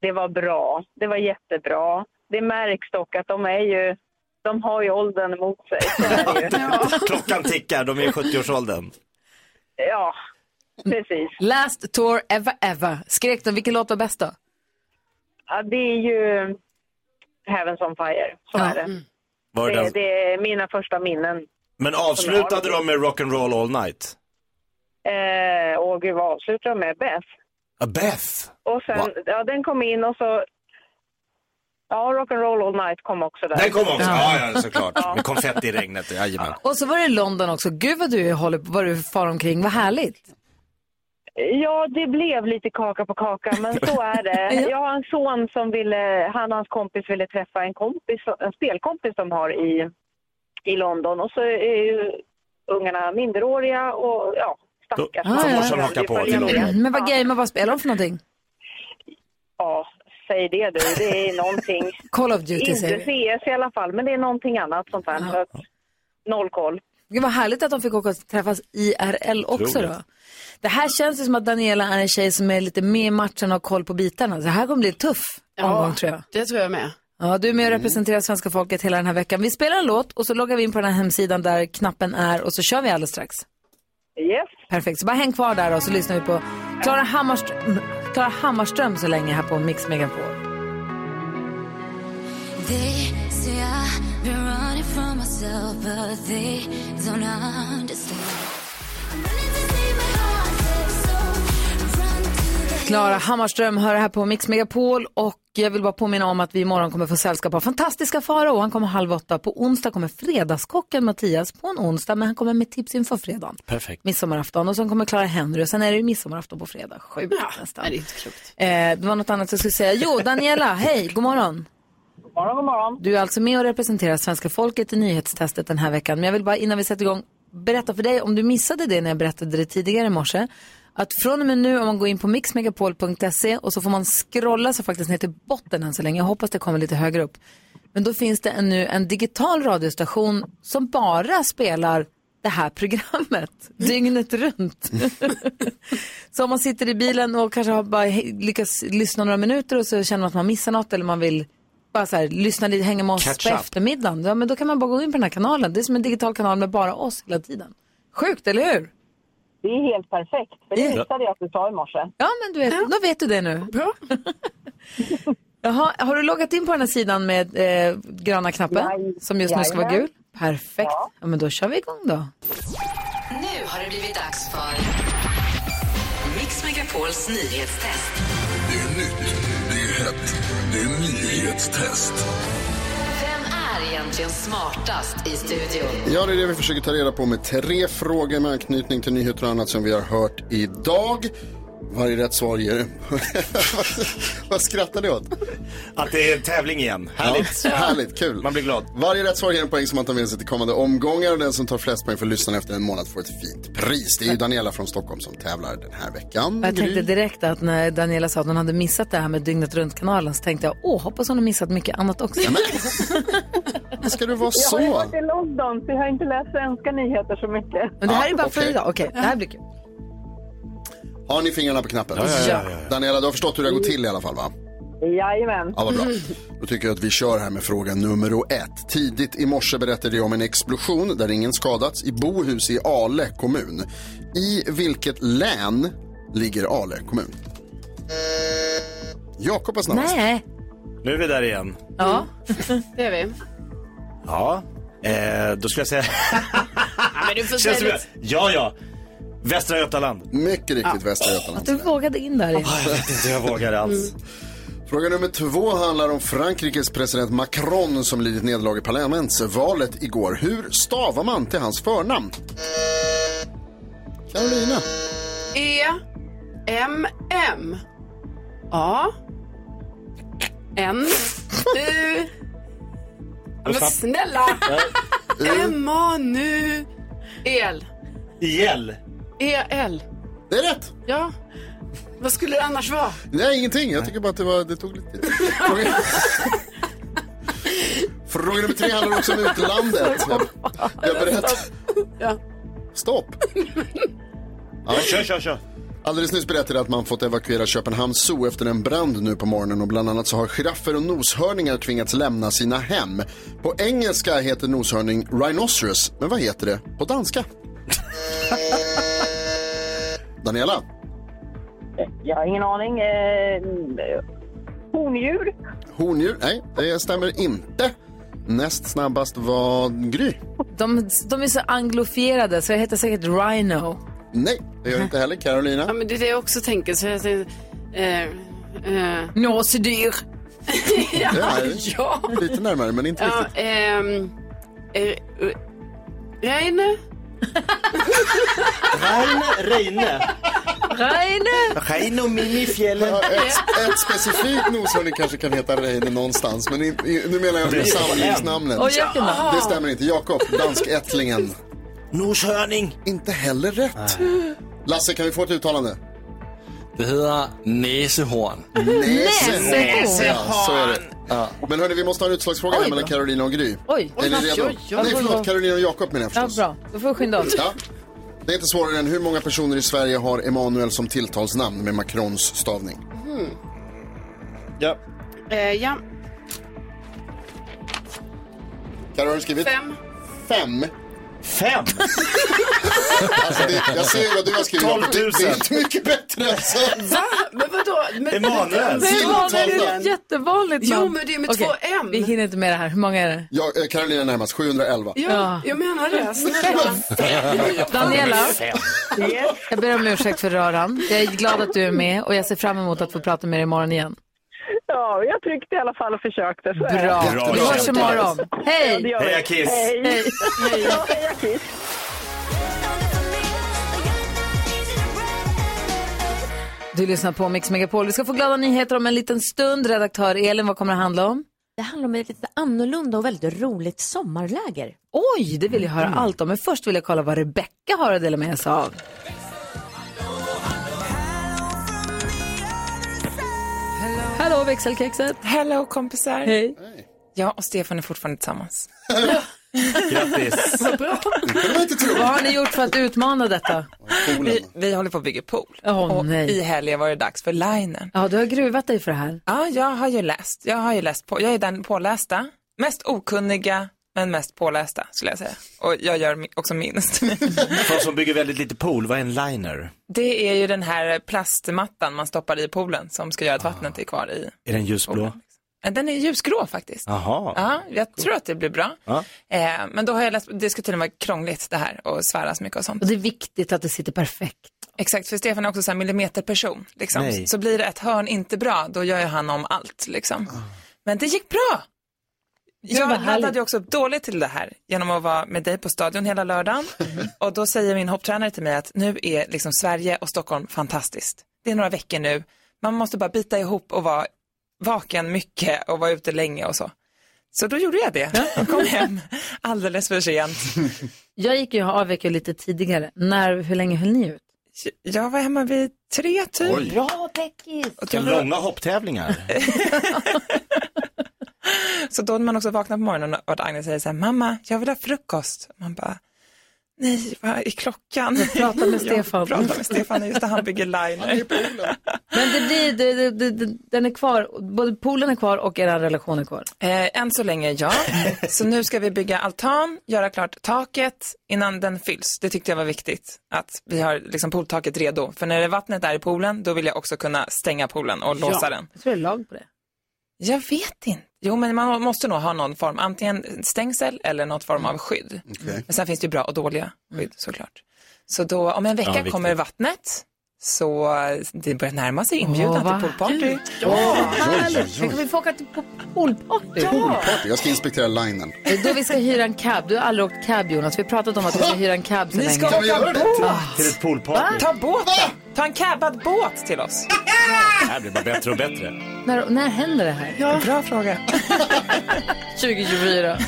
S18: det var bra. Det var jättebra. Det märks dock att de är ju, de har ju åldern emot sig. Så är det ju.
S6: Klockan tickar, de är i 70-årsåldern.
S18: ja, precis.
S2: Last tour ever ever. Skrek de, vilken låt var bäst då?
S18: ja, det är ju <laughs> Heavens on Fire. Så är det.
S6: Var det
S18: det,
S6: den-
S18: det är mina första minnen.
S6: Men avslutade de med rock'n'roll all night?
S18: Eh, och gud, vad avslutar de med? Beth.
S6: Ah, Beth!
S18: Och sen,
S6: Va?
S18: ja, den kom in och så... Ja, Rock'n'Roll All Night kom också där.
S6: Den kom också, ja, ja såklart. Med konfetti i regnet, jajamän.
S2: Och så var det London också. Gud vad du håller på, vad du far omkring. Vad härligt.
S18: Ja, det blev lite kaka på kaka, men så
S2: <laughs>
S18: är det. Jag har en son som ville, han och hans kompis ville träffa en kompis, en spelkompis de har i, i London. Och så är ju ungarna minderåriga och ja, stackars.
S2: Då- så morsan
S6: hakar på
S18: Det
S6: till
S18: följer med.
S6: London.
S2: Men vad gamer, vad spelar de för någonting?
S18: Ja, säg det du.
S2: <laughs>
S18: Det är någonting.
S2: Call of Duty säger
S18: Inte
S2: vi.
S18: CS i alla fall, men det är någonting annat sånt här. Så att, noll koll.
S2: Gud vad härligt att de fick åka och träffas IRL också
S18: Otroligt.
S2: då. Det här känns ju som att Daniela är en tjej som är lite med i matchen och har koll på bitarna. Så det här kommer bli en tuff omgång tror jag.
S7: det tror jag med.
S2: Ja, du är med och representerar svenska folket hela den här veckan. Vi spelar en låt och så loggar vi in på den här hemsidan där knappen är och så kör vi alldeles strax.
S18: Yes.
S2: Perfekt, så bara häng kvar där och så lyssnar vi på Klara Hammarström, Klara Hammarström så länge här på Mix Megapol.
S13: They say I've been running from myself, but they don't understand.
S2: Klara Hammarström hör här på Mix Megapol och jag vill bara påminna om att vi imorgon kommer få sällskap av fantastiska Farao. Han kommer halv åtta. På onsdag kommer Fredagskocken Mattias på en onsdag, men han kommer med tips inför fredagen.
S6: Perfekt.
S2: Midsommarafton och sen kommer Clara Henry och sen är det ju midsommarafton på fredag. Sjukt nästan.
S7: Nej, det är inte klokt.
S2: Eh, det var något annat jag skulle säga. Jo, Daniela, hej, god morgon.
S18: God morgon, god morgon.
S2: Du är alltså med och representerar svenska folket i nyhetstestet den här veckan. Men jag vill bara innan vi sätter igång berätta för dig, om du missade det när jag berättade det tidigare i morse, att från och med nu om man går in på mixmegapol.se och så får man scrolla sig faktiskt ner till botten än så länge. Jag hoppas det kommer lite högre upp. Men då finns det en, nu en digital radiostation som bara spelar det här programmet <laughs> dygnet runt. Så om man sitter i bilen och kanske har bara he- lyckats lyssna några minuter och så känner man att man missar något eller man vill bara så här, lyssna lite, hänga med oss
S13: Catch
S2: på
S13: up.
S2: eftermiddagen. Ja, men då kan man bara gå in på den här kanalen. Det är som en digital kanal med bara oss hela tiden. Sjukt, eller hur?
S18: Det är helt perfekt, för
S2: Ja.
S18: det missade jag att du sa i morse.
S2: Ja, men du vet, då vet du det nu. Bra. <laughs> Jaha, har du loggat in på den här sidan med eh, gröna knappen som just nu ska vara
S1: jajamän.
S2: gul? Perfekt. Ja. men då kör vi igång då.
S1: Nu har det blivit dags för Mix Megapols nyhetstest.
S19: Det är nytt, det är hett, det är nyhetstest.
S1: Vem är egentligen smartast i studion?
S10: Ja, det är det vi försöker ta reda på med tre frågor med anknytning till nyheter och annat som vi har hört idag. Varje rätt svar ger... <laughs> Vad skrattar du åt?
S6: Att det är en tävling igen. Härligt.
S10: Ja, härligt, kul. Man
S6: blir glad.
S10: Varje rätt svar ger en poäng som man tar med sig till kommande omgångar och den som tar flest poäng för lyssnarna efter en månad får ett fint pris. Det är ju Daniela från Stockholm som tävlar den här veckan.
S2: Jag tänkte
S10: Gry.
S2: direkt att när Daniela sa att hon hade missat det här med dygnet runt-kanalen så tänkte jag, åh, hoppas hon har missat mycket annat också.
S10: Vad ska du vara
S18: Jag har ju varit i London, så jag har inte läst svenska nyheter så mycket.
S2: Men det här är bara för idag. Okej, det här blir kul.
S10: Har ni fingrarna på knappen?
S18: Ja, ja, ja,
S10: Daniela, du har förstått hur det går till i alla fall va?
S18: Jajamän.
S10: Ja, vad bra. Då tycker jag att vi kör här med fråga nummer ett. Tidigt i morse berättade jag om en explosion där ingen skadats i Bohus i Ale kommun. I vilket län ligger Ale kommun? Jakob är snabbast.
S2: Nej.
S6: Nu är vi där igen.
S2: Ja,
S7: <laughs> det är vi.
S6: Ja, eh, då skulle jag <laughs> säga...
S7: Ja, men du får
S6: Känns som
S7: säga
S6: jag... Ja, ja. Västra Götaland.
S10: Mycket riktigt Västra Götaland.
S2: Att du vågade in där. i.
S6: Ah, Jag vet inte hur jag vågar alls.
S10: Fråga nummer två handlar om Frankrikes president Macron som lidit nederlag i parlamentsvalet igår. Hur stavar man till hans förnamn? Carolina.
S7: E, M, M. A, N, U. Ja, Men snälla! Emanuel.
S6: IL.
S7: E-L.
S10: Det är rätt.
S7: E Ja. Vad skulle det annars vara?
S10: Nej, ingenting. Jag tycker bara att det, var, det tog lite tid. Fråga... Fråga nummer tre handlar också om utlandet. Jag, jag berätt... Stopp. Ja.
S6: Kör, kör, kör.
S10: Alldeles nyss berättade jag att man fått evakuera Köpenhamns zoo efter en brand nu på morgonen och bland annat så har giraffer och noshörningar tvingats lämna sina hem. På engelska heter noshörning rhinoceros, men vad heter det på danska? Daniela?
S18: Jag har ingen aning. Eh,
S12: hondjur.
S10: Hondjur? Nej, det stämmer inte. Näst snabbast var Gry.
S2: De, de är så anglofierade så jag heter säkert Rhino.
S10: Nej, det gör inte heller
S7: Ja,
S10: Carolina.
S7: men det är det jag också tänker. Så jag tänker eh, eh.
S2: Nåsedyr.
S7: <laughs> ja,
S10: Det
S7: ja.
S10: är Lite närmare, men inte
S7: ja
S10: riktigt.
S7: ehm, eh, Reine?
S6: Reine, Reine.
S2: Reine!
S6: Reine och Mimmi i fjällen.
S10: Ja, ett, ett specifikt noshörning kanske kan heta Reine någonstans, men i, i, nu menar jag
S6: Det är
S10: församlingsnamnet.
S6: en. Och Jakob då?
S10: Det stämmer inte. Jakob, danskättlingen.
S6: Noshörning.
S10: Inte heller rätt. Lasse, kan vi få ett uttalande?
S9: Det hedder næsehorn.
S10: Näsehorn.
S9: Näsehorn.
S10: Ja, så är det. Ja. Men hörni, vi måste ha en utslagsfråga här
S2: Oj då.
S10: mellan Carolina och Gry.
S2: Oj.
S10: Är ni redo?
S2: Oj, oj, oj.
S10: Nej, förlåt. Carolina och Jakob menar jag
S2: Ja,
S10: förstås.
S2: bra. Då får vi skynda oss.
S10: Ja. Det är inte svårare än hur många personer i Sverige har Emanuel som tilltalsnamn med Macrons stavning?
S7: Mm.
S6: Ja.
S7: Eh, ja,
S10: Carro, har du skrivit? <laughs>
S7: fem.
S10: Fem?
S6: Fem?
S10: Alltså, det, jag ser ju vad du har skrivit.
S6: 12 000.
S10: Det, det är inte mycket bättre än så.
S7: Va? Men vadå? Men,
S10: Emanuel.
S7: Men-
S10: Emanuel
S2: är ett jättevanligt
S7: Jo,
S2: namn.
S7: men det är med
S2: Okej,
S7: två M.
S2: Vi hinner inte med det här. Hur många är det?
S10: Ja, eh, Carolina är närmast, 711.
S7: Ja, jag menar det. Snälla.
S2: Daniela, jag ber om ursäkt för röran. Jag är glad att du är med och jag ser fram emot att få prata med dig imorgon igen.
S12: Ja, jag tryckte i alla fall och försökte. Så är det.
S2: Bra.
S6: Bra
S2: Vi hörs
S6: kämpat.
S2: imorgon.
S12: Ja, det
S2: Hej!
S12: gör vi.
S6: Heja Kiss.
S12: Hej.
S2: Hej.
S12: Ja, heja Kiss.
S2: Du lyssnar på Mix Megapol. Vi ska få glada nyheter om en liten stund. Redaktör Elin, vad kommer det handla om?
S8: Det handlar om ett lite annorlunda och väldigt roligt sommarläger. Mm.
S2: Oj, det vill jag höra allt om. Men först vill jag kolla vad Rebecka har att dela med sig av. Hallå växelkexet!
S20: Hello kompisar!
S2: Hej!
S20: Jag och Stefan är fortfarande tillsammans.
S6: <laughs> Grattis!
S20: Vad bra!
S2: Vad har ni gjort för att utmana detta?
S20: Vi, vi håller på att bygga pool.
S2: Åh,
S20: och
S2: nej.
S20: i helgen var det dags för linen.
S2: Ja, du har gruvat dig för det här.
S20: Ja, jag har ju läst. Jag har ju läst på. Jag är den pålästa. Mest okunniga, men mest pålästa skulle jag säga. Och jag gör mi- också minst.
S6: <laughs> Folk som bygger väldigt lite pool, vad är en liner?
S20: det är ju den här plastmattan man stoppar i poolen som ska göra
S6: Ah.
S20: att vattnet är kvar i.
S6: Är den ljusblå?
S20: Eh, Den är ljusgrå faktiskt.
S6: Jaha.
S20: Ja, jag tror att det blir bra.
S6: Ja.
S20: Eh, men då har jag läst, det ska tydligen vara krångligt det här och sväras mycket och sånt.
S2: Och det är viktigt att det sitter perfekt.
S20: Exakt, för Stefan är också så här millimeterperson. Liksom.
S2: Nej.
S20: Så blir det ett hörn inte bra, då gör ju han om allt. Liksom. Men det gick bra. Jag
S2: vad härligt.
S20: laddade ju också upp dåligt till det här genom att vara med dig på stadion hela lördagen. Och då säger min hopptränare till mig att nu är liksom Sverige och Stockholm fantastiskt. Det är några veckor nu. Man måste bara bita ihop och vara vaken mycket och vara ute länge och så. Så då gjorde jag det. Jag kom hem alldeles för sent.
S2: Jag gick ju jag avvek ju lite tidigare. När, hur länge höll ni ut?
S20: Jag var hemma vid tre
S6: Oj.
S20: typ.
S8: Bra Beckis!
S6: Vilka långa hopptävlingar.
S20: Så då när man också vaknar på morgonen och att Agnes säger så här, mamma, jag vill ha frukost. Man bara, nej, vad är klockan? <laughs> Jag
S2: pratar med Stefan.
S20: Jag pratar med Stefan, just det, han bygger liner.
S2: Men det blir, det, det, det, det, den är kvar, både poolen är kvar och er relation är kvar.
S20: Eh, än så länge ja. Så nu ska vi bygga altan, göra klart taket innan den fylls. Det tyckte jag var viktigt, att vi har liksom pooltaket redo. För när det vattnet är i poolen, då vill jag också kunna stänga poolen och låsa
S2: ja.
S20: den.
S2: Jag tror det är lag på det.
S20: Jag vet inte. Jo, men man måste nog ha någon form, antingen stängsel eller något form av skydd. Men sen finns det ju bra och dåliga skydd såklart. Så då, om en
S2: Ja,
S20: vecka
S2: viktigt.
S20: kommer vattnet. Så eh, det börjar närma sig
S2: Åh,
S20: inbjudan
S2: vad
S20: till poolparty.
S2: härligt. Åh, vad härligt. Tänk om vi får åka till po- poolparty.
S10: Poolparty, jag ska inspektera linen.
S2: Det är då vi ska hyra en cab. Du har aldrig åkt cab Jonas. Vi har pratat om att vi ska hyra en cab så
S20: Ni
S2: länge.
S20: ska Kan vi åka göra det? båt?
S2: Ah.
S6: Till ett
S20: Va?
S6: poolparty.
S20: Ta båten! Ta en cabbad båt till oss.
S6: Det här blir bara bättre och bättre.
S2: När, när händer det här?
S20: Bra fråga.
S2: 2024.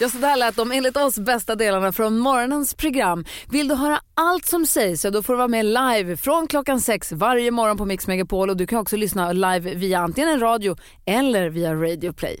S2: Ja, så där lät de enligt oss bästa delarna från morgonens program. Vill du höra allt som sägs så då får du vara med live från klockan sex varje morgon på Mix Megapol och du kan också lyssna live via antingen en radio eller via Radio Play.